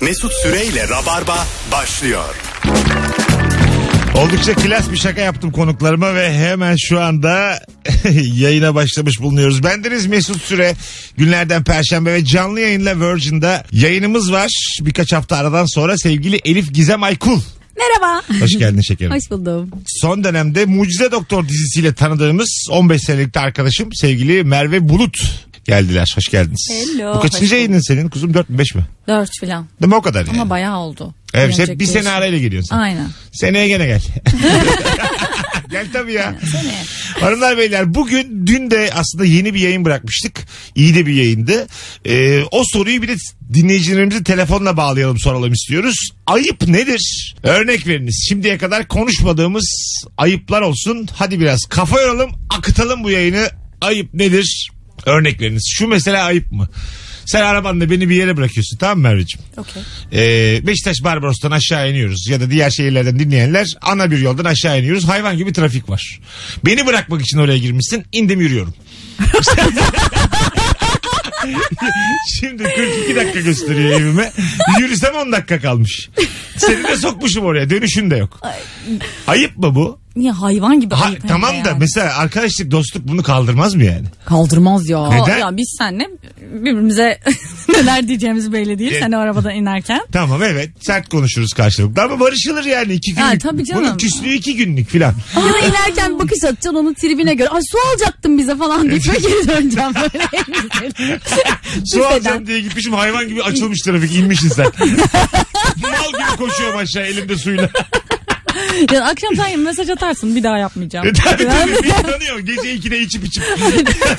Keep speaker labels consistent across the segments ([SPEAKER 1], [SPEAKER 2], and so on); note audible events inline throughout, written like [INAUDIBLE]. [SPEAKER 1] Mesut Süreyle Rabarba başlıyor.
[SPEAKER 2] Oldukça klas bir şaka yaptım konuklarıma ve hemen şu anda [LAUGHS] yayına başlamış bulunuyoruz. Bendeniz Mesut Süre. Günlerden Perşembe ve canlı yayınla Virgin'da yayınımız var. Birkaç hafta aradan sonra sevgili Elif Gizem Aykul.
[SPEAKER 3] Merhaba.
[SPEAKER 2] Hoş geldin şekerim.
[SPEAKER 3] Hoş buldum.
[SPEAKER 2] Son dönemde Mucize Doktor dizisiyle tanıdığımız 15 senelik de arkadaşım sevgili Merve Bulut geldiler. Hoş geldiniz.
[SPEAKER 3] Hello,
[SPEAKER 2] Bu
[SPEAKER 3] hoş
[SPEAKER 2] kaçıncı
[SPEAKER 3] bulduk.
[SPEAKER 2] yayının senin? Kuzum 4 mü 5 mi?
[SPEAKER 3] Dört filan.
[SPEAKER 2] Değil mi o kadar yani?
[SPEAKER 3] Ama bayağı oldu.
[SPEAKER 2] Evet, hep
[SPEAKER 3] Gelecek
[SPEAKER 2] bir sene
[SPEAKER 3] diyorsun.
[SPEAKER 2] arayla geliyorsun sen.
[SPEAKER 3] Aynen.
[SPEAKER 2] Seneye
[SPEAKER 3] [LAUGHS]
[SPEAKER 2] gene gel. gel tabii ya. Hanımlar beyler bugün dün de aslında yeni bir yayın bırakmıştık. İyi de bir yayındı. Ee, o soruyu bir de dinleyicilerimizi telefonla bağlayalım soralım istiyoruz. Ayıp nedir? Örnek veriniz. Şimdiye kadar konuşmadığımız ayıplar olsun. Hadi biraz kafa yoralım akıtalım bu yayını. Ayıp nedir? Örnek veriniz. Şu mesela ayıp mı? Sen arabanla beni bir yere bırakıyorsun tamam mı Merveciğim?
[SPEAKER 3] Okey.
[SPEAKER 2] Ee, Beşiktaş Barbaros'tan aşağı iniyoruz ya da diğer şehirlerden dinleyenler ana bir yoldan aşağı iniyoruz. Hayvan gibi trafik var. Beni bırakmak için oraya girmişsin. İndim yürüyorum. [LAUGHS] Şimdi 42 dakika gösteriyor evime. Yürüsem 10 dakika kalmış. Seni de sokmuşum oraya. Dönüşün de yok. Ayıp mı bu?
[SPEAKER 3] Niye hayvan gibi
[SPEAKER 2] Ha,
[SPEAKER 3] ayıp hem de
[SPEAKER 2] tamam da
[SPEAKER 3] yani.
[SPEAKER 2] mesela arkadaşlık dostluk bunu kaldırmaz mı yani?
[SPEAKER 3] Kaldırmaz ya.
[SPEAKER 2] Neden?
[SPEAKER 3] Ya biz senle birbirimize [LAUGHS] neler diyeceğimiz belli değil.
[SPEAKER 2] Evet.
[SPEAKER 3] Sen o arabadan inerken.
[SPEAKER 2] Tamam evet sert konuşuruz karşılıklı ama barışılır yani iki günlük.
[SPEAKER 3] Ha, tabii canım.
[SPEAKER 2] Bunun küslüğü iki günlük filan.
[SPEAKER 4] Ya da inerken bakış atacaksın onu tribine göre. Ay su alacaktın bize falan deyip ben geri döneceğim [LAUGHS] böyle.
[SPEAKER 2] [LAUGHS] Su alacağım diye gitmişim hayvan gibi açılmış trafik inmişsin sen.
[SPEAKER 3] [LAUGHS]
[SPEAKER 2] Mal gibi koşuyorum aşağı elimde suyla. [LAUGHS]
[SPEAKER 3] Yani akşam sen mesaj atarsın bir daha yapmayacağım.
[SPEAKER 2] E tabii tabii bir tanıyor. Gece 2'de içip içip.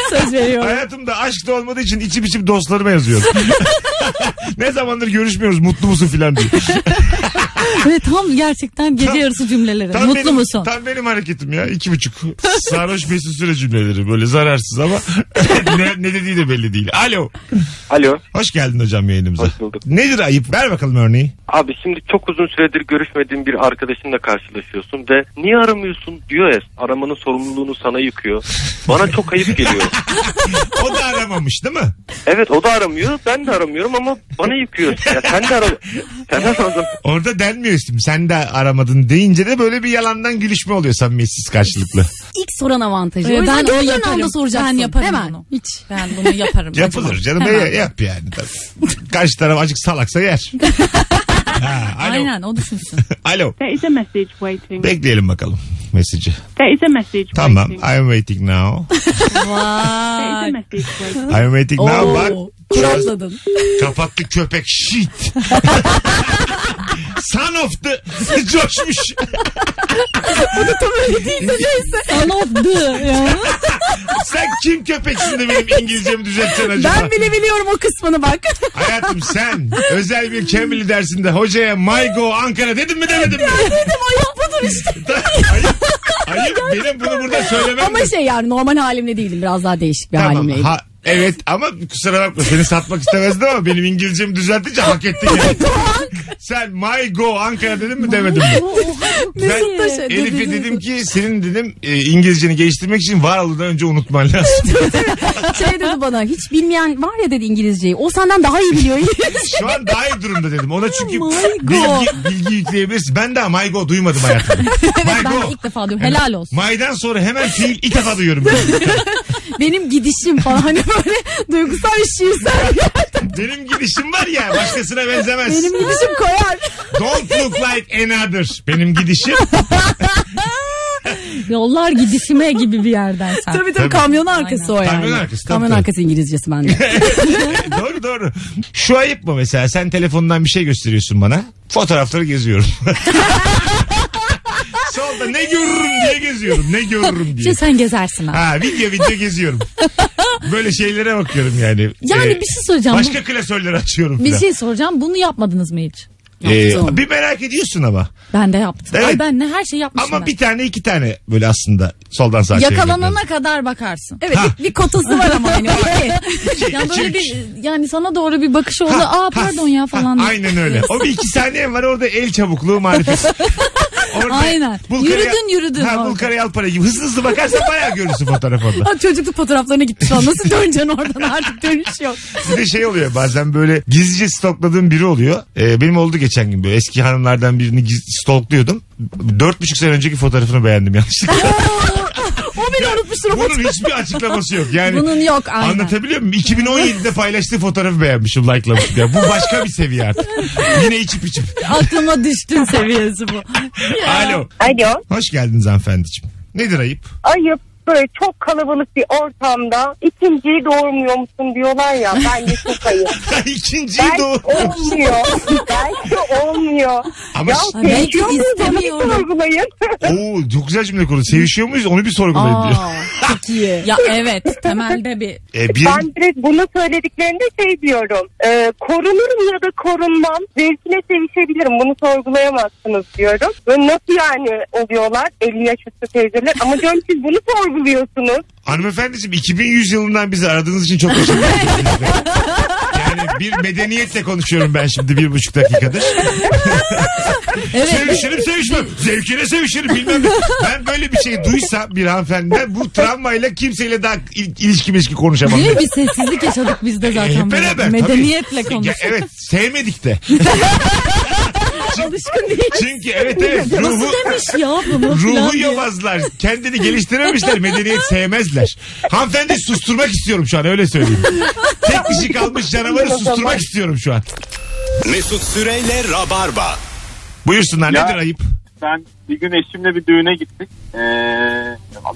[SPEAKER 3] Söz veriyorum.
[SPEAKER 2] Hayatımda aşk da olmadığı için içip içip
[SPEAKER 3] [LAUGHS]
[SPEAKER 2] dostlarıma yazıyorum. ne zamandır görüşmüyoruz mutlu musun
[SPEAKER 3] [LAUGHS]
[SPEAKER 2] filan diye.
[SPEAKER 3] Ve tam gerçekten gece
[SPEAKER 2] Tam-
[SPEAKER 3] yarısı cümleleri.
[SPEAKER 2] Tam
[SPEAKER 3] Mutlu
[SPEAKER 2] benim,
[SPEAKER 3] musun?
[SPEAKER 2] Tam benim hareketim ya. iki buçuk. Sarhoş mesut süre cümleleri böyle zararsız ama [LAUGHS] ne, ne dediği de belli değil. Alo.
[SPEAKER 5] Alo.
[SPEAKER 2] Hoş geldin hocam yayınımıza.
[SPEAKER 5] Hoş bulduk.
[SPEAKER 2] Nedir ayıp? Ver bakalım örneği.
[SPEAKER 5] Abi şimdi çok uzun süredir görüşmediğin bir arkadaşınla karşılaşıyorsun ve niye aramıyorsun diyor ya. Aramanın sorumluluğunu sana yıkıyor. Bana çok ayıp
[SPEAKER 6] [LAUGHS]
[SPEAKER 5] geliyor.
[SPEAKER 2] O da aramamış değil mi?
[SPEAKER 5] Evet o da aramıyor ben de aramıyorum ama bana yıkıyor. Ya sen de ara. Sen aramadın.
[SPEAKER 2] Orada denmiyor isim. Sen de aramadın deyince de böyle bir yalandan gülüşme oluyor samimiyetsiz karşılıklı.
[SPEAKER 4] İlk soran avantajı. o
[SPEAKER 3] Ee,
[SPEAKER 4] yüzden
[SPEAKER 3] ben
[SPEAKER 4] ben
[SPEAKER 3] onu
[SPEAKER 4] o
[SPEAKER 3] yaparım.
[SPEAKER 4] anda soracaksın.
[SPEAKER 3] Ben yaparım
[SPEAKER 4] Hemen.
[SPEAKER 3] onu.
[SPEAKER 4] Hiç.
[SPEAKER 3] Ben bunu yaparım.
[SPEAKER 2] Yapılır
[SPEAKER 3] Acaba.
[SPEAKER 2] canım.
[SPEAKER 3] Hemen.
[SPEAKER 2] E, Yap yani. Tabii. Karşı taraf acık salaksa yer. ha, [LAUGHS] alo.
[SPEAKER 3] Aynen
[SPEAKER 4] [LAUGHS]
[SPEAKER 3] o düşünsün.
[SPEAKER 2] Alo.
[SPEAKER 7] There is a message waiting.
[SPEAKER 2] Bekleyelim bakalım mesajı.
[SPEAKER 7] There is a message
[SPEAKER 2] Tamam.
[SPEAKER 7] waiting.
[SPEAKER 2] I'm waiting now.
[SPEAKER 7] There is
[SPEAKER 3] Vay.
[SPEAKER 7] a message waiting.
[SPEAKER 2] I'm waiting now. Bak.
[SPEAKER 4] [LAUGHS] Kuratladın.
[SPEAKER 2] Kapattı köpek. Shit. Son of the... [LAUGHS] Coşmuş.
[SPEAKER 3] Son of the. ya.
[SPEAKER 2] Sen kim köpeksin de benim İngilizcemi düzeltsen acaba?
[SPEAKER 4] [LAUGHS] Ben bile biliyorum o kısmını
[SPEAKER 3] [LAUGHS]
[SPEAKER 4] bak.
[SPEAKER 2] Hayatım sen özel bir Cambly dersinde hocaya My Go Ankara dedim mi demedim mi?
[SPEAKER 4] Dedim ayıp budur işte.
[SPEAKER 2] ayıp. Ayıp. Benim bunu burada söylemem.
[SPEAKER 4] Ama şey yani normal halimle değilim. Biraz daha değişik bir [LAUGHS]
[SPEAKER 2] Tamam.
[SPEAKER 4] halimleydim.
[SPEAKER 2] Ha, evet ama kusura bakma seni satmak istemezdim ama benim İngilizcemi düzeltince hak ettin yani.
[SPEAKER 3] [LAUGHS]
[SPEAKER 2] Sen my go Ankara dedim mi demedim mi?
[SPEAKER 4] Mesut da şey
[SPEAKER 2] Ben
[SPEAKER 4] dedi,
[SPEAKER 2] Elif'e
[SPEAKER 4] dedi.
[SPEAKER 2] dedim ki senin dedim e, İngilizceni geliştirmek için var olmadan önce unutman
[SPEAKER 4] [LAUGHS]
[SPEAKER 2] lazım. [LAUGHS]
[SPEAKER 4] Şey dedi bana hiç bilmeyen var ya dedi İngilizceyi. O senden daha iyi
[SPEAKER 2] [LAUGHS]
[SPEAKER 4] biliyor İngilizce.
[SPEAKER 2] Şu an daha iyi durumda dedim. Ona çünkü
[SPEAKER 4] My go.
[SPEAKER 2] bilgi, bilgi yükleyebilirsin. Ben daha my go
[SPEAKER 4] [LAUGHS]
[SPEAKER 2] duymadım hayatımda. my
[SPEAKER 4] ben de
[SPEAKER 2] go.
[SPEAKER 4] ilk defa diyorum helal olsun.
[SPEAKER 2] Maydan sonra hemen fiil ilk defa duyuyorum. ben.
[SPEAKER 4] Benim gidişim falan [LAUGHS] hani böyle duygusal bir
[SPEAKER 2] [LAUGHS]
[SPEAKER 4] şiirsel.
[SPEAKER 2] Benim gidişim var ya başkasına benzemez.
[SPEAKER 4] Benim
[SPEAKER 2] [LAUGHS]
[SPEAKER 4] gidişim koyar.
[SPEAKER 2] Don't look like another.
[SPEAKER 3] [LAUGHS]
[SPEAKER 2] Benim gidişim.
[SPEAKER 3] Yollar gidişime gibi bir yerden sen.
[SPEAKER 4] Tabii tabii kamyon arkası o yani.
[SPEAKER 2] Kamyon arkası, tabii,
[SPEAKER 4] Kamyon
[SPEAKER 2] tabii.
[SPEAKER 4] arkası İngilizcesi bende.
[SPEAKER 2] [LAUGHS] doğru doğru. Şu ayıp mı mesela? Sen telefondan bir şey gösteriyorsun bana.
[SPEAKER 3] [LAUGHS]
[SPEAKER 2] Fotoğrafları geziyorum. Solda ne görürüm diye geziyorum. Ne görürüm diye.
[SPEAKER 3] İşte Şey, sen gezersin abi.
[SPEAKER 2] Ha video video geziyorum. Böyle şeylere bakıyorum yani.
[SPEAKER 3] Yani
[SPEAKER 2] Ee,
[SPEAKER 3] bir şey soracağım.
[SPEAKER 2] Başka klasörleri açıyorum
[SPEAKER 3] Bir
[SPEAKER 4] Ee,
[SPEAKER 2] falan.
[SPEAKER 3] şey soracağım. Bunu yapmadınız mı hiç?
[SPEAKER 2] Ee,
[SPEAKER 4] Yaptım.
[SPEAKER 2] bir merak ediyorsun ama.
[SPEAKER 3] Ben de yaptım.
[SPEAKER 2] Evet.
[SPEAKER 3] Ay ben ne her şey yapmışım
[SPEAKER 2] Ama
[SPEAKER 3] ben.
[SPEAKER 2] bir Şey tane iki tane böyle aslında soldan sağa çevirmek lazım.
[SPEAKER 3] Yakalanana kadar bakarsın.
[SPEAKER 4] Evet bir, bir kotası var ama hani.
[SPEAKER 2] [LAUGHS]
[SPEAKER 3] Yani böyle
[SPEAKER 2] iki,
[SPEAKER 3] bir yani sana doğru bir bakış oldu.
[SPEAKER 2] Ha,
[SPEAKER 3] Aa pardon ya falan.
[SPEAKER 4] [LAUGHS]
[SPEAKER 2] Aynen öyle. O bir iki saniye var orada el çabukluğu marifet. Orada
[SPEAKER 4] Aynen.
[SPEAKER 2] bul karayı-
[SPEAKER 4] Yürüdün, yürüdün
[SPEAKER 2] Ha, bul
[SPEAKER 4] orada.
[SPEAKER 2] karayalpara gibi. Hızlı hızlı bakarsan bayağı görürsün fotoğraf orada.
[SPEAKER 4] Ha, çocukluk fotoğraflarına gitti şu an. Nasıl döneceksin oradan artık dönüş yok.
[SPEAKER 2] Bir de şey oluyor bazen böyle gizlice stalkladığım biri oluyor. Ee, benim oldu geçen gün böyle eski hanımlardan birini giz- stalkluyordum. Dört buçuk sene önceki fotoğrafını beğendim yanlışlıkla.
[SPEAKER 4] [LAUGHS] O beni unutmuştur o
[SPEAKER 2] Bunun hiçbir açıklaması yok. Yani
[SPEAKER 4] Bunun yok aynen.
[SPEAKER 2] Anlatabiliyor muyum? 2017'de paylaştığı fotoğrafı beğenmişim, likelamışım. Ya bu başka bir seviye artık. Yine içip içip.
[SPEAKER 4] Aklıma düştün seviyesi bu.
[SPEAKER 2] Alo.
[SPEAKER 8] Alo.
[SPEAKER 2] Hoş geldiniz hanımefendiciğim.
[SPEAKER 4] [LAUGHS]
[SPEAKER 2] Nedir ayıp?
[SPEAKER 8] Ayıp böyle çok kalabalık bir ortamda ikinciyi doğurmuyor musun diyorlar ya bence çok ayıp.
[SPEAKER 2] [LAUGHS] İkinciyi
[SPEAKER 8] Belki
[SPEAKER 2] doğru.
[SPEAKER 8] olmuyor. Belki olmuyor.
[SPEAKER 2] Ama s-
[SPEAKER 4] Ay, belki
[SPEAKER 8] seviyor muyuz? Onu bir
[SPEAKER 4] istemiyorum.
[SPEAKER 8] sorgulayın. [LAUGHS]
[SPEAKER 2] Oo, çok güzel cümle kurdu. Sevişiyor muyuz? Onu bir sorgulayın diyor.
[SPEAKER 4] Aa, çok iyi.
[SPEAKER 3] Ya evet temelde bir
[SPEAKER 2] Ee, bir,
[SPEAKER 8] Ben direkt bunu söylediklerinde şey diyorum. E, korunurum ya da korunmam. Zevkine sevişebilirim. Bunu sorgulayamazsınız diyorum. Ve nasıl yani oluyorlar 50 yaş üstü teyzeler. Ama diyorum siz bunu sorguluyorsunuz.
[SPEAKER 2] hanımefendiciğim 2100 yılından bizi aradığınız için çok teşekkür ederim. Yani bir medeniyetle konuşuyorum ben şimdi bir buçuk dakikadır.
[SPEAKER 4] Evet.
[SPEAKER 2] Sevişirim sevişmem. Zevkine sevişirim bilmem ne. Ben böyle bir şey duysam bir hanımefendiden bu travmayla kimseyle daha il- ilişki ilişki konuşamam.
[SPEAKER 4] Değil
[SPEAKER 2] derim.
[SPEAKER 4] mi? Bir sessizlik yaşadık biz de
[SPEAKER 2] E,
[SPEAKER 4] zaten.
[SPEAKER 2] hep
[SPEAKER 4] böyle.
[SPEAKER 2] beraber,
[SPEAKER 4] Medeniyetle
[SPEAKER 2] tabii. Ya
[SPEAKER 4] konuştuk.
[SPEAKER 2] evet sevmedik de.
[SPEAKER 4] Alışkın değil.
[SPEAKER 2] Çünkü evet evet e, ruhu,
[SPEAKER 4] Nasıl demiş ya bunu? falan
[SPEAKER 2] ruhu
[SPEAKER 4] diye.
[SPEAKER 2] yobazlar. Kendini geliştirememişler. Medeniyet sevmezler. Hanımefendi susturmak istiyorum şu an öyle söyleyeyim. Tek kişi kalmış canavarı susturmak istiyorum şu an.
[SPEAKER 1] Mesut Süreyle Rabarba.
[SPEAKER 2] Buyursunlar
[SPEAKER 6] Ya.
[SPEAKER 2] nedir ayıp?
[SPEAKER 6] ben bir gün eşimle bir düğüne gittik. Ee,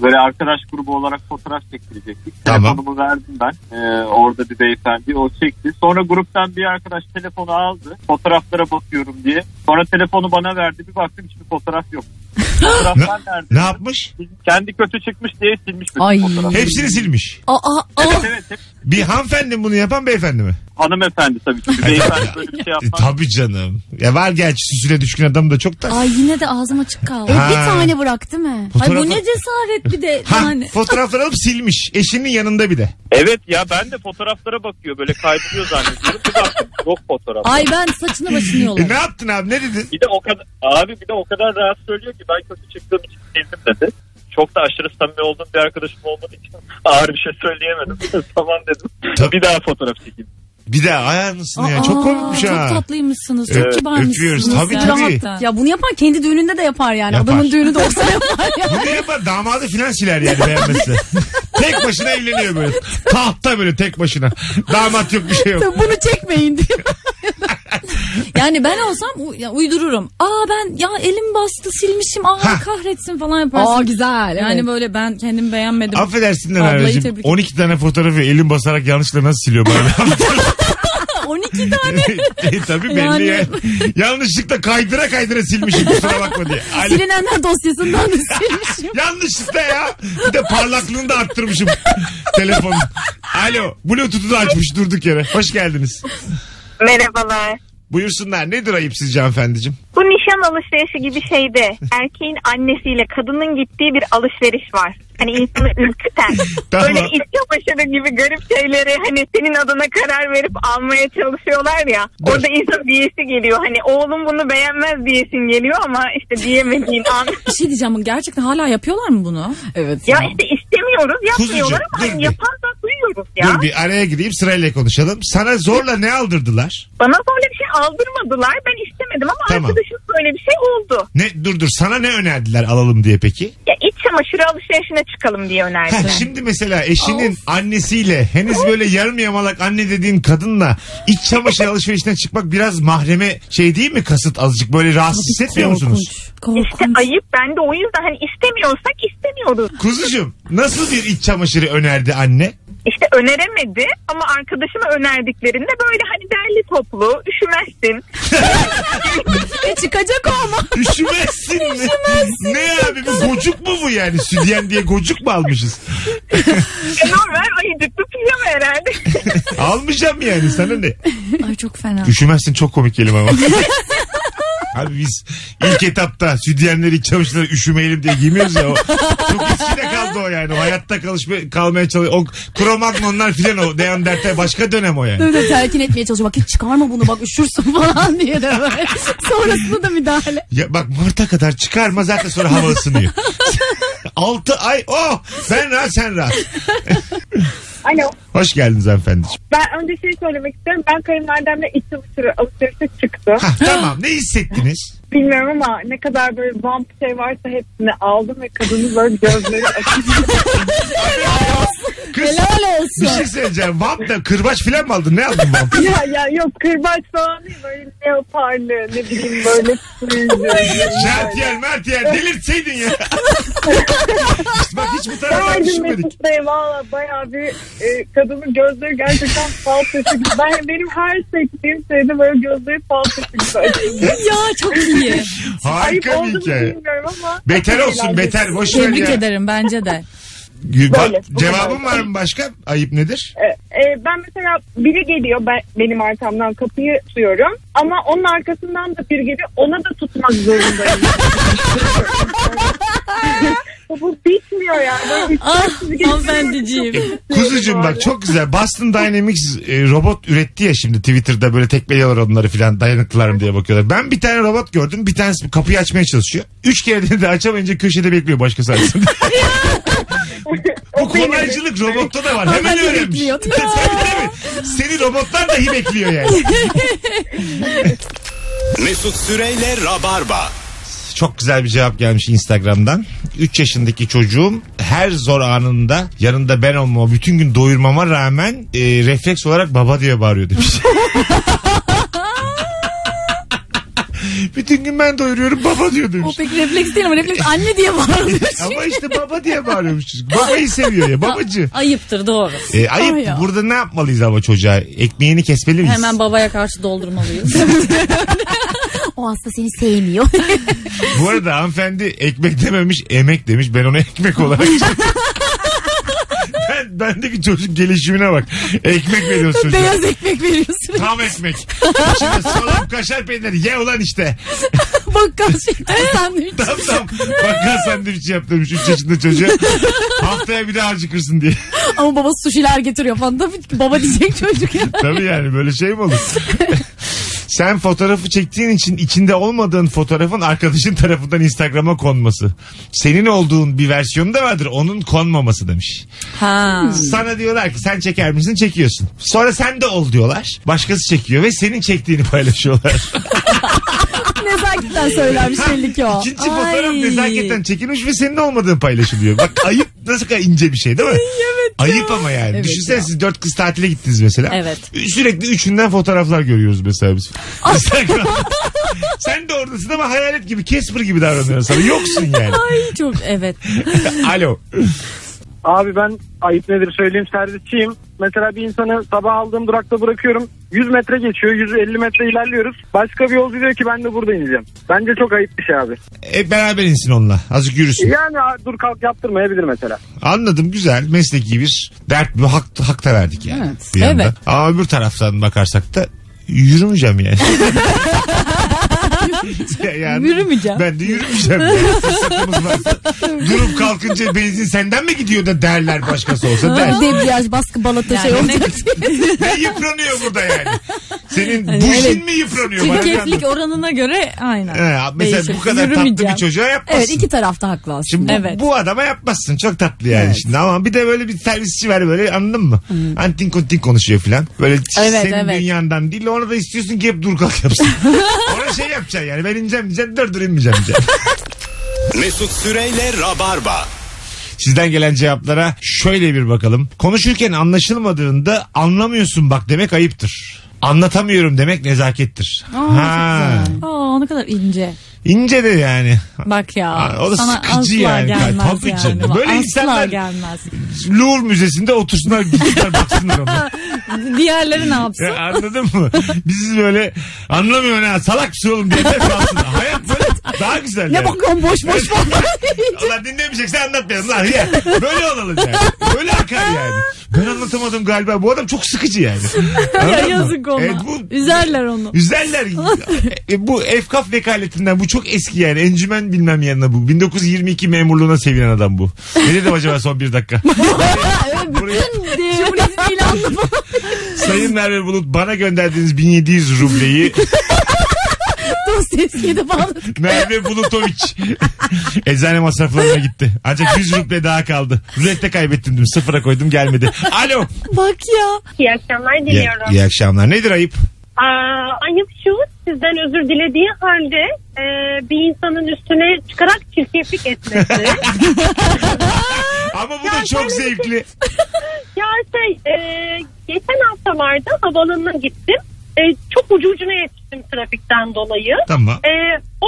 [SPEAKER 6] böyle arkadaş grubu olarak fotoğraf çektirecektik.
[SPEAKER 2] Tamam.
[SPEAKER 6] Telefonumu verdim ben. Ee, orada bir beyefendi o çekti. Sonra gruptan bir arkadaş telefonu aldı. Fotoğraflara bakıyorum diye. Sonra telefonu bana verdi. Bir baktım hiçbir fotoğraf
[SPEAKER 2] [GASPS]
[SPEAKER 6] yok. Fotoğraflar nerede?
[SPEAKER 2] Ne yapmış?
[SPEAKER 6] Kendi kötü çıkmış diye silmiş bütün
[SPEAKER 4] Ay.
[SPEAKER 6] fotoğrafı.
[SPEAKER 2] Hepsini silmiş.
[SPEAKER 4] Aa, aa,
[SPEAKER 6] Evet
[SPEAKER 4] aa.
[SPEAKER 6] evet. Hep
[SPEAKER 2] Bir hanımefendi mi bunu yapan beyefendi mi?
[SPEAKER 6] hanımefendi tabii ki. Beyefendi böyle bir şey
[SPEAKER 2] E,
[SPEAKER 6] yapmaz.
[SPEAKER 2] tabii canım. Ya var gerçi süsüne düşkün adam da çok da.
[SPEAKER 4] Ay yine de ağzım açık kaldı.
[SPEAKER 2] Ha.
[SPEAKER 4] Bir tane bıraktı mı?
[SPEAKER 2] Fotoğrafı-
[SPEAKER 4] Ay bu ne cesaret bir de
[SPEAKER 2] Ha,
[SPEAKER 4] yani.
[SPEAKER 2] fotoğrafları alıp silmiş. Eşinin yanında bir de.
[SPEAKER 6] Evet ya ben de fotoğraflara bakıyor. Böyle kayboluyor zannediyorum. Bir baktım yok fotoğraf.
[SPEAKER 4] Ay ben saçını başını
[SPEAKER 2] E,
[SPEAKER 4] yolarım.
[SPEAKER 2] ne yaptın abi ne dedin?
[SPEAKER 6] Bir de o kadar abi bir de o kadar rahat söylüyor ki ben kötü çıktığım için sildim dedi. Çok da aşırı samimi olduğum bir arkadaşım olmadığı için [LAUGHS] ağır bir şey söyleyemedim. [LAUGHS] tamam dedim.
[SPEAKER 2] Tabii.
[SPEAKER 6] bir daha fotoğraf çekeyim.
[SPEAKER 2] Bir de ayağınızın E, ya.
[SPEAKER 4] Aa,
[SPEAKER 2] Çok komikmiş
[SPEAKER 4] çok
[SPEAKER 2] ha.
[SPEAKER 4] tatlıymışsınız. Çok
[SPEAKER 2] Evet,
[SPEAKER 4] kibarmışsınız.
[SPEAKER 2] öpüyoruz. Tabii,
[SPEAKER 4] ya.
[SPEAKER 2] tabii.
[SPEAKER 4] Rahat- Ya bunu yapan kendi düğününde de yapar yani.
[SPEAKER 2] Yapar.
[SPEAKER 4] Adamın düğünü de olsa [LAUGHS] yapar ya.
[SPEAKER 2] Bunu yapar damadı filan siler yani
[SPEAKER 3] [LAUGHS]
[SPEAKER 2] beğenmezse. tek başına evleniyor böyle. Tahta böyle tek başına. Damat yok bir şey yok.
[SPEAKER 4] Tabii bunu çekmeyin
[SPEAKER 3] [LAUGHS]
[SPEAKER 4] diyor. yani ben olsam u- ya uydururum. Aa ben ya elim bastı silmişim. Aa
[SPEAKER 2] Ha.
[SPEAKER 4] kahretsin falan yaparsın.
[SPEAKER 3] güzel. Yani
[SPEAKER 4] evet.
[SPEAKER 3] böyle ben kendim beğenmedim.
[SPEAKER 2] Affedersin de
[SPEAKER 3] Ablayı
[SPEAKER 2] Merveciğim.
[SPEAKER 3] tebrik-
[SPEAKER 2] 12 tane fotoğrafı elim basarak yanlışlıkla nasıl
[SPEAKER 3] [LAUGHS]
[SPEAKER 2] siliyor bari?
[SPEAKER 4] 12 tane
[SPEAKER 2] [LAUGHS] e, tabii belli
[SPEAKER 4] Yani-
[SPEAKER 2] ya. Yanlışlıkla kaydıra kaydıra silmişim kusura
[SPEAKER 3] [LAUGHS]
[SPEAKER 2] bakma diye. Alo.
[SPEAKER 4] silinenler dosyasından da [LAUGHS] silmişim.
[SPEAKER 2] Yanlışlıkla ya. Bir de parlaklığını da arttırmışım [LAUGHS] telefonun. Alo. Bluetooth'u da açmış durduk yere. Hoş geldiniz.
[SPEAKER 9] Merhabalar.
[SPEAKER 2] Buyursunlar. Nedir ayıp sizce hanımefendiciğim?
[SPEAKER 9] Bu nişan alışverişi gibi şeyde erkeğin annesiyle kadının gittiği bir alışveriş var. Hani insanı
[SPEAKER 2] [LAUGHS]
[SPEAKER 9] ürküten.
[SPEAKER 2] Tamam.
[SPEAKER 9] Böyle iç çamaşırı gibi garip şeyleri hani senin adına karar verip almaya çalışıyorlar ya.
[SPEAKER 2] Dur.
[SPEAKER 9] Orada insan diyesi geliyor. Hani oğlum bunu beğenmez diyesin geliyor ama işte diyemediğin
[SPEAKER 2] [LAUGHS]
[SPEAKER 9] an.
[SPEAKER 3] Bir şey diyeceğim gerçekten hala yapıyorlar mı bunu?
[SPEAKER 4] Evet.
[SPEAKER 9] ya işte istemiyoruz yapmıyorlar
[SPEAKER 2] Kuzucuğum,
[SPEAKER 9] ama
[SPEAKER 2] dur
[SPEAKER 9] hani
[SPEAKER 2] bir.
[SPEAKER 9] yapan da duyuyoruz ya.
[SPEAKER 2] Dur bir araya gideyim sırayla konuşalım. Sana zorla ne aldırdılar?
[SPEAKER 9] Bana böyle bir şey aldırmadılar. Ben istemedim ama
[SPEAKER 2] Tamam.
[SPEAKER 9] arkadaşım böyle bir şey oldu.
[SPEAKER 2] Ne dur dur sana ne önerdiler alalım diye peki?
[SPEAKER 9] Ya iç çamaşırı alışverişine çıkalım diye önerdi.
[SPEAKER 2] Heh, şimdi mesela eşinin annesiyle henüz böyle yarım yamalak anne dediğin kadınla iç çamaşır alışverişine çıkmak biraz mahreme şey değil mi kasıt azıcık böyle rahatsız hissetmiyor musunuz?
[SPEAKER 4] Korkunç.
[SPEAKER 9] İşte ayıp ben de o yüzden hani istemiyorsak istemiyoruz.
[SPEAKER 2] Kuzucuğum nasıl bir iç çamaşırı önerdi anne?
[SPEAKER 9] İşte öneremedi ama arkadaşıma önerdiklerinde böyle hani derli toplu üşümezsin.
[SPEAKER 4] E, çıkacak o [LAUGHS] ama.
[SPEAKER 2] Üşümezsin mi? ne abi bu gocuk mu bu yani? Südyen diye gocuk mu almışız?
[SPEAKER 9] E normal ayıcıklı pijama
[SPEAKER 6] [LAUGHS]
[SPEAKER 9] herhalde.
[SPEAKER 2] Almayacağım yani sana ne?
[SPEAKER 4] Ay çok fena.
[SPEAKER 2] Üşümezsin çok komik kelime ama. [LAUGHS] Abi biz ilk etapta sütyenleri iç çamaşırları üşümeyelim diye giymiyoruz ya. O, çok eskide kaldı o yani. O hayatta kalışma, kalmaya çalışıyor. O kromagnonlar filan o. Neandertal başka dönem o yani.
[SPEAKER 3] Böyle telkin etmeye çalışıyor. Bak hiç çıkarma bunu bak
[SPEAKER 4] [LAUGHS]
[SPEAKER 3] üşürsün falan diye de böyle. Sonrasında da müdahale.
[SPEAKER 2] Ya bak Mart'a kadar çıkarma zaten sonra hava ısınıyor. [LAUGHS] 6 ay oh ben rahat sen rahat.
[SPEAKER 9] Alo.
[SPEAKER 2] Hoş geldiniz hanımefendiciğim.
[SPEAKER 9] Ben önce şey söylemek istiyorum. Ben kayınvalidemle iç çamaşırı alışverişe çıktı.
[SPEAKER 2] Hah, tamam ne hissettiniz?
[SPEAKER 9] Bilmiyorum ama ne kadar böyle vamp şey varsa hepsini aldım ve kadının böyle gözleri açık. [LAUGHS]
[SPEAKER 2] Kız
[SPEAKER 3] Helal
[SPEAKER 2] bir
[SPEAKER 3] olsun.
[SPEAKER 2] şey söyleyeceğim. Vamp da kırbaç filan mı aldın? Ne aldın vamp?
[SPEAKER 9] ya ya yok kırbaç falan değil böyle leoparlı ne bileyim böyle sürücü.
[SPEAKER 2] Şertiyen mertiyen delirtseydin
[SPEAKER 9] [LAUGHS]
[SPEAKER 2] ya. Hiç Bak hiç bu taraftan
[SPEAKER 9] Haydi
[SPEAKER 2] düşünmedik.
[SPEAKER 9] Mesut Bey valla bayağı bir e, kadının gözleri gerçekten fal taşı gibi. Ben, benim her seçtiğim şeyde böyle gözleri fal taşı gibi açıldı.
[SPEAKER 3] Ya çok iyi.
[SPEAKER 9] Ayıp
[SPEAKER 2] Harika
[SPEAKER 9] oldu
[SPEAKER 2] bir
[SPEAKER 9] mu
[SPEAKER 2] hikaye.
[SPEAKER 9] bilmiyorum ama.
[SPEAKER 2] Beter olsun
[SPEAKER 9] Eğlenceli.
[SPEAKER 2] beter. Boş ver
[SPEAKER 4] Tebrik
[SPEAKER 2] ya.
[SPEAKER 4] ederim bence de.
[SPEAKER 2] Bak,
[SPEAKER 9] Böyle, bu
[SPEAKER 2] Cevabın
[SPEAKER 9] kadar.
[SPEAKER 2] var mı başka?
[SPEAKER 9] [LAUGHS]
[SPEAKER 2] Ayıp nedir?
[SPEAKER 9] E, e, ben mesela biri geliyor ben, benim arkamdan kapıyı tutuyorum ama onun arkasından da biri geliyor ona da tutmak
[SPEAKER 10] [LAUGHS]
[SPEAKER 9] zorundayım. bu, bu bitmiyor yani. Böyle üç
[SPEAKER 4] Ah
[SPEAKER 9] dört
[SPEAKER 4] [LAUGHS]
[SPEAKER 9] kişi
[SPEAKER 4] hanımefendiciğim.
[SPEAKER 2] Kuzucuğum bak çok güzel. Boston Dynamics e, robot üretti ya şimdi Twitter'da böyle tekmeliyorlar onları filan dayanıklılar mı diye bakıyorlar. Ben bir tane robot gördüm. Bir tanesi kapıyı açmaya çalışıyor. Üç kere de açamayınca köşede bekliyor
[SPEAKER 9] [LAUGHS]
[SPEAKER 2] başkası açsın. Bu kolaycılık robotta da var. Hemen
[SPEAKER 3] Hemen
[SPEAKER 2] öğrenmiş.
[SPEAKER 3] bekliyor.
[SPEAKER 2] [LAUGHS] tabii, tabii. Seni robotlar dahi bekliyor yani.
[SPEAKER 11] Mesut Süreyle Rabarba.
[SPEAKER 2] Çok güzel bir cevap gelmiş Instagram'dan. 3 yaşındaki çocuğum her zor anında yanında ben olmama bütün gün doyurmama rağmen e, refleks olarak baba diye bağırıyor demiş. [LAUGHS] bütün gün ben doyuruyorum baba diyor
[SPEAKER 4] O
[SPEAKER 2] demiş.
[SPEAKER 4] pek refleks değil ama refleks anne diye bağırmış.
[SPEAKER 2] Ama işte baba diye bağırıyormuş çocuk. Babayı seviyor ya babacı.
[SPEAKER 4] Ayıptır doğru.
[SPEAKER 2] E, ayıp
[SPEAKER 3] ya.
[SPEAKER 2] burada ne yapmalıyız ama çocuğa? Ekmeğini kesmeli miyiz?
[SPEAKER 4] Oh Hemen babaya karşı doldurmalıyız.
[SPEAKER 3] [LAUGHS] O hasta seni sevmiyor.
[SPEAKER 2] Bu arada hanımefendi ekmek dememiş emek demiş. Ben ona ekmek olarak [LAUGHS] Ben, bendeki çocuk gelişimine bak. Ekmek veriyorsun çocuğa.
[SPEAKER 3] Beyaz ekmek veriyorsun. [LAUGHS]
[SPEAKER 2] Tam ekmek. Şimdi salam kaşar peyniri ye ulan işte.
[SPEAKER 3] Bakkal şeker sandviç.
[SPEAKER 2] Tam tam. Bakkal sandviç şey yaptırmış 3 yaşında çocuğa. Haftaya bir daha acıkırsın diye. [LAUGHS]
[SPEAKER 3] Ama baba suşiler getiriyor falan. Tabii ki baba diyecek çocuk ya.
[SPEAKER 2] Tabii yani böyle şey mi olur? Sen fotoğrafı çektiğin için içinde olmadığın fotoğrafın arkadaşın tarafından Instagram'a konması. Senin olduğun bir versiyonu da vardır. Onun konmaması demiş.
[SPEAKER 4] ha.
[SPEAKER 2] Sana diyorlar ki sen çeker misin? Çekiyorsun. Sonra sen de ol diyorlar. Başkası çekiyor ve senin çektiğini [LAUGHS] paylaşıyorlar.
[SPEAKER 3] [LAUGHS] Nezaketten söylenmiş belli ki o.
[SPEAKER 4] Ay.
[SPEAKER 2] İkinci fotoğraf nezaketten çekilmiş ve senin olmadığı paylaşılıyor. Bak [LAUGHS] ayıp nasıl kadar ince bir şey değil mi? Ayıp ama yani.
[SPEAKER 4] Evet
[SPEAKER 2] Düşünsene
[SPEAKER 4] ya.
[SPEAKER 2] siz dört kız tatile gittiniz mesela.
[SPEAKER 4] Evet.
[SPEAKER 2] Sürekli üçünden fotoğraflar görüyoruz mesela biz. Instagram'da. [LAUGHS] Sen de oradasın ama hayalet gibi Casper gibi davranıyorsun sana. Yoksun yani.
[SPEAKER 4] Ay çok evet.
[SPEAKER 2] Alo.
[SPEAKER 6] Abi ben ayıp nedir söyleyeyim servisçiyim. Mesela bir insanı sabah aldığım durakta bırakıyorum. 100 metre geçiyor, 150 metre ilerliyoruz. Başka bir yolcu diyor ki ben de burada ineceğim. Bence çok ayıp bir şey abi.
[SPEAKER 2] E, beraber insin onunla. Azıcık yürüsün.
[SPEAKER 6] Yani "Aa, dur kalk yaptırmayabilir mesela.
[SPEAKER 2] Anladım güzel mesleki bir dert bir hak, hak da verdik yani.
[SPEAKER 4] Evet.
[SPEAKER 2] Bir yandan.
[SPEAKER 4] Evet.
[SPEAKER 2] Ama öbür taraftan bakarsak da
[SPEAKER 4] [LAUGHS]
[SPEAKER 2] yürümeyeceğim yani. [LAUGHS] yani
[SPEAKER 4] Yürümeyeceğim.
[SPEAKER 2] Ben de yürümeyeceğim. Yani fırsatımız varsa.
[SPEAKER 4] [LAUGHS]
[SPEAKER 2] Durup kalkınca benzin senden mi gidiyor da derler başkası
[SPEAKER 4] [LAUGHS]
[SPEAKER 2] olsa der.
[SPEAKER 3] Debriyaj baskı balata şey
[SPEAKER 4] Yani ne-
[SPEAKER 3] olacak.
[SPEAKER 4] [LAUGHS]
[SPEAKER 2] Ne yıpranıyor burada yani? Senin
[SPEAKER 4] Hani
[SPEAKER 2] bujin
[SPEAKER 4] evet.
[SPEAKER 2] mi yıpranıyor? Bana bir
[SPEAKER 4] Çirkeflik
[SPEAKER 2] anlat.
[SPEAKER 4] oranına göre aynen.
[SPEAKER 2] He, mesela bu
[SPEAKER 4] Değişir.
[SPEAKER 2] kadar tatlı bir
[SPEAKER 4] Yürümeyeceğim.
[SPEAKER 2] çocuğa yapmazsın.
[SPEAKER 3] Evet iki tarafta haklı
[SPEAKER 2] Şimdi
[SPEAKER 3] aslında.
[SPEAKER 2] bu,
[SPEAKER 4] Evet.
[SPEAKER 2] bu adama yapmazsın. Çok tatlı yani şimdi. Ama bir de böyle bir servisçi var böyle anladın mı? Hani Antin kontin konuşuyor filan. Böyle
[SPEAKER 4] Evet,
[SPEAKER 2] senin
[SPEAKER 4] evet.
[SPEAKER 2] dünyandan değil. Ona da istiyorsun ki hep dur kalk yapsın.
[SPEAKER 4] [LAUGHS]
[SPEAKER 2] Ona şey yapacaksın yani. Ben ineceğim diyeceksin. Dur dur inmeyeceğim diyeceksin.
[SPEAKER 11] Mesut Süreyle Rabarba.
[SPEAKER 2] Sizden gelen cevaplara şöyle bir bakalım. Konuşurken anlaşılmadığında anlamıyorsun bak demek ayıptır. Anlatamıyorum demek nezakettir. ha.
[SPEAKER 4] Aa ne kadar ince.
[SPEAKER 2] İnce de yani.
[SPEAKER 4] Bak ya.
[SPEAKER 2] Aa, o da
[SPEAKER 4] sana
[SPEAKER 2] sıkıcı
[SPEAKER 4] asla
[SPEAKER 2] yani.
[SPEAKER 4] Gelmez
[SPEAKER 2] Tabii
[SPEAKER 4] yani.
[SPEAKER 2] canım. Böyle
[SPEAKER 4] asla
[SPEAKER 2] insanlar-
[SPEAKER 4] gelmez.
[SPEAKER 2] Louvre Müzesi'nde otursunlar gitsinler baksınlar ona.
[SPEAKER 4] Diğerleri ne yapsın?
[SPEAKER 2] Ya anladın mı? Bizi böyle anlamıyor ne salak mısın oğlum diye de kalsın. Hayat böyle Daha güzel
[SPEAKER 4] Ne
[SPEAKER 2] yani.
[SPEAKER 4] bakıyorsun boş boş boş.
[SPEAKER 2] Allah dinlemeyecekse anlatmayalım lan. Ya, böyle olalım yani. Böyle akar yani. Ben anlatamadım galiba. Bu adam çok sıkıcı yani.
[SPEAKER 3] Ya
[SPEAKER 2] Anladın mı?
[SPEAKER 3] yazık ona.
[SPEAKER 2] Evet, E, bu,
[SPEAKER 3] Üzerler
[SPEAKER 2] [LAUGHS]
[SPEAKER 3] onu.
[SPEAKER 2] Güzeller. E, bu efkaf vekaletinden bu çok eski yani. Encümen bilmem yanına bu. 1922 memurluğuna sevinen adam bu. Ne dedim acaba son bir dakika? Buraya
[SPEAKER 3] Cumhuriyet ilanlı bu.
[SPEAKER 2] Sayın Merve Bulut bana gönderdiğiniz 1700 rubleyi
[SPEAKER 4] Dostoyevski'ye de bağladık.
[SPEAKER 2] Merve Bulutoviç [LAUGHS] eczane masraflarına gitti. Ancak 100 ruble daha kaldı. Rulette kaybettim dedim. Sıfıra koydum gelmedi. Alo.
[SPEAKER 3] Bak ya.
[SPEAKER 10] İyi akşamlar
[SPEAKER 2] İyi,
[SPEAKER 10] diliyorum.
[SPEAKER 2] iyi akşamlar. Nedir ayıp?
[SPEAKER 10] Aa, ayıp şu sizden özür dilediği halde e, bir insanın üstüne çıkarak çirkeflik etmesi.
[SPEAKER 2] Ama bu da çok zevkli.
[SPEAKER 10] ya şey e, geçen haftalarda havalanına gittim. E, çok ucu ucuna yetiştim trafikten dolayı.
[SPEAKER 2] Tamam.
[SPEAKER 10] E,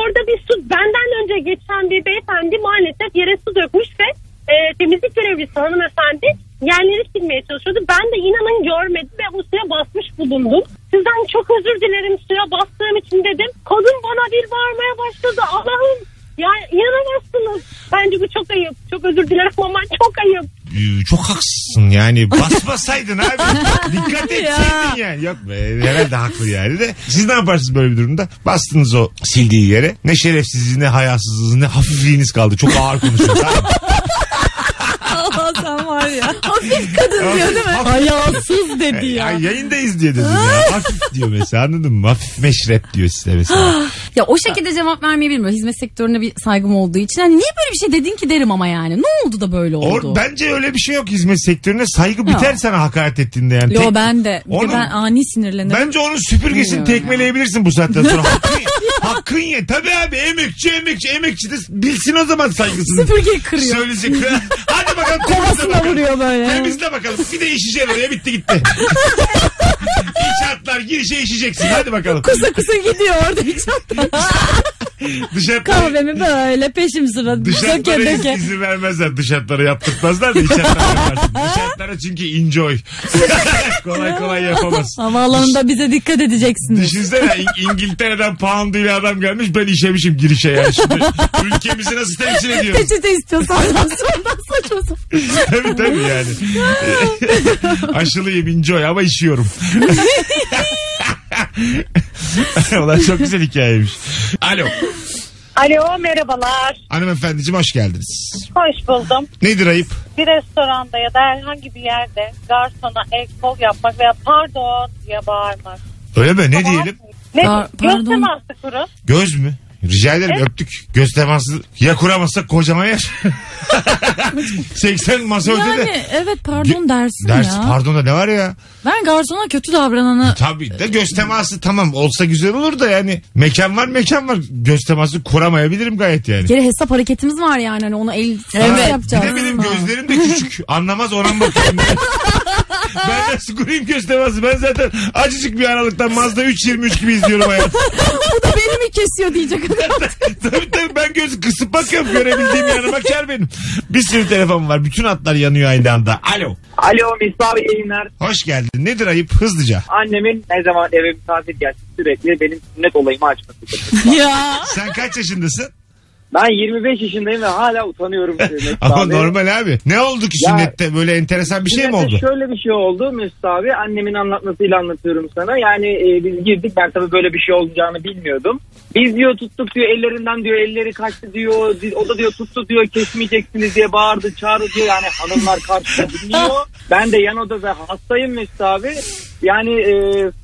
[SPEAKER 10] orada bir su benden önce geçen bir beyefendi maalesef yere su dökmüş ve e, temizlik görevlisi hanımefendi yerleri silmeye çalışıyordu. Ben de inanın görmedim ve o suya basmış bulundum. Sizden çok özür dilerim suya bastığım için dedim. Kadın bana bir bağırmaya başladı. Allah'ım ya inanamazsınız. Bence bu çok ayıp. Çok özür dilerim ama çok ayıp.
[SPEAKER 2] Ee, Çok haksızsın yani. Basmasaydın abi. Dikkat etseydin yani. Yok be herhalde haklı yani de. Siz ne yaparsınız böyle bir durumda? Bastınız o sildiği yere. Ne şerefsizliğiniz ne hayasızlığınız ne hafifliğiniz kaldı. Çok ağır konuşuyorsunuz. abi.
[SPEAKER 3] Allah sen var ya.
[SPEAKER 4] Hafif kadın diyor değil mi?
[SPEAKER 2] Hafif.
[SPEAKER 4] Hayasız dedi
[SPEAKER 2] Ya.
[SPEAKER 4] ya.
[SPEAKER 2] yayındayız diye dedim ya. Hafif diyor mesela anladın mı? Hafif meşrep diyor size mesela.
[SPEAKER 3] Ya o şekilde cevap vermeyi bilmiyorum. Hizmet sektörüne bir saygım olduğu için. Hani niye böyle bir şey dedin ki derim ama yani. Ne oldu da böyle oldu?
[SPEAKER 2] Or, bence öyle bir şey yok hizmet sektörüne. Saygı biter sana hakaret ettiğinde yani.
[SPEAKER 3] Yo
[SPEAKER 2] Tek-
[SPEAKER 3] ben de. Bir de
[SPEAKER 2] Oğlum,
[SPEAKER 3] ben ani sinirlenirim.
[SPEAKER 2] Bence onun süpürgesini
[SPEAKER 3] Bilmiyorum ya.
[SPEAKER 2] tekmeleyebilirsin bu saatten
[SPEAKER 3] [LAUGHS]
[SPEAKER 2] sonra. Hakkın, hakkın ye. Tabii abi emekçi emekçi emekçi de bilsin o zaman saygısını.
[SPEAKER 3] Süpürgeyi kırıyor.
[SPEAKER 2] Söyleyecek.
[SPEAKER 3] [LAUGHS]
[SPEAKER 2] Hadi bakalım. temizle
[SPEAKER 4] Kovasına
[SPEAKER 2] bakalım.
[SPEAKER 4] vuruyor böyle.
[SPEAKER 2] Temizle bakalım. Bir de işeceksin oraya
[SPEAKER 3] [LAUGHS]
[SPEAKER 2] bitti gitti. İçatlar girişe işeceksin. Hadi bakalım.
[SPEAKER 4] Kusa kusa gidiyor orada hiç
[SPEAKER 2] Dışarı
[SPEAKER 4] Kahvemi böyle peşim sıra döke
[SPEAKER 2] Dışarılara iz-
[SPEAKER 4] döke.
[SPEAKER 2] izin vermezler. Dışarılara yaptırtmazlar da içeriden
[SPEAKER 3] [LAUGHS]
[SPEAKER 2] yaparsın. Dışarılara çünkü enjoy. [LAUGHS] kolay kolay yapamaz.
[SPEAKER 3] [LAUGHS] Havaalanında bize dikkat edeceksiniz.
[SPEAKER 2] Düşünsene İng- İngiltere'den pound ile adam gelmiş ben işemişim girişe ya. Şimdi ülkemizi nasıl temsil ediyoruz?
[SPEAKER 3] Peçete istiyorsan [LAUGHS] sonra saçma sapan.
[SPEAKER 2] tabii tabii
[SPEAKER 3] [LAUGHS]
[SPEAKER 2] yani. Aşılıyım enjoy ama işiyorum. [LAUGHS] Ulan çok güzel hikayeymiş. Alo.
[SPEAKER 10] Alo merhabalar.
[SPEAKER 2] Hanımefendiciğim hoş geldiniz.
[SPEAKER 10] Hoş buldum.
[SPEAKER 2] Nedir ayıp?
[SPEAKER 10] bir restoranda ya da herhangi bir yerde garsona el kol yapmak veya pardon diye bağırmak.
[SPEAKER 2] Öyle mi? Ne diyelim?
[SPEAKER 10] Ne?
[SPEAKER 3] Aa, pardon.
[SPEAKER 10] Göz teması kurun.
[SPEAKER 2] Göz mü? Rica ederim öptük. Göz teması ya kuramazsak
[SPEAKER 3] [LAUGHS]
[SPEAKER 2] kocaman yer. 80 masa ötede.
[SPEAKER 3] Yani evet pardon dersin
[SPEAKER 2] Ders
[SPEAKER 3] ya.
[SPEAKER 2] pardon da ne var ya?
[SPEAKER 3] ben garsona kötü davrananı
[SPEAKER 2] Tabii de göz teması tamam olsa güzel olur da yani mekan var mekan var. Göz teması kuramayabilirim gayet yani.
[SPEAKER 3] geri hesap hareketimiz var yani hani ona el
[SPEAKER 2] Ha,
[SPEAKER 3] yapacağız.
[SPEAKER 2] Bir de benim gözlerim de küçük. Anlamaz ona mı bakıyorum. ben. ben nasıl kurayım göz teması? Ben zaten acıcık bir aralıktan Mazda 3.23 gibi izliyorum hayatı. [LAUGHS]
[SPEAKER 3] Bu da beni mi kesiyor diyecek adam.
[SPEAKER 2] tabii tabii ben gözü kısıp bakıyorum görebildiğim yanıma kar benim. Bir sürü telefonum var. Bütün hatlar yanıyor aynı anda. Alo.
[SPEAKER 6] Alo Misbah Bey, yayınlar.
[SPEAKER 2] Hoş geldin. Nedir ayıp? Hızlıca.
[SPEAKER 6] Annemin ne zaman eve misafir gelsin sürekli benim sünnet olayımı açması.
[SPEAKER 3] ya.
[SPEAKER 2] Sen kaç yaşındasın?
[SPEAKER 6] Ben 25 yaşındayım ve hala
[SPEAKER 2] [LAUGHS]
[SPEAKER 6] utanıyorum. Mesut
[SPEAKER 2] Ama
[SPEAKER 6] abi.
[SPEAKER 2] normal abi. Ne oldu ki
[SPEAKER 6] Ya-
[SPEAKER 2] sünnette? Böyle enteresan bir şey mi
[SPEAKER 6] Sünnette
[SPEAKER 2] oldu?
[SPEAKER 6] Şöyle bir şey oldu Mesut abi. Annemin anlatmasıyla anlatıyorum sana. Yani e, biz girdik ben tabii böyle bir şey olacağını bilmiyordum. Biz diyor tuttuk diyor ellerinden diyor elleri kaçtı diyor. Biz- O da diyor tuttu diyor kesmeyeceksiniz diye bağırdı çağırdı diyor. Yani hanımlar karşıda dinliyor. Ben de yan odada hastayım Mesut abi. Yani e,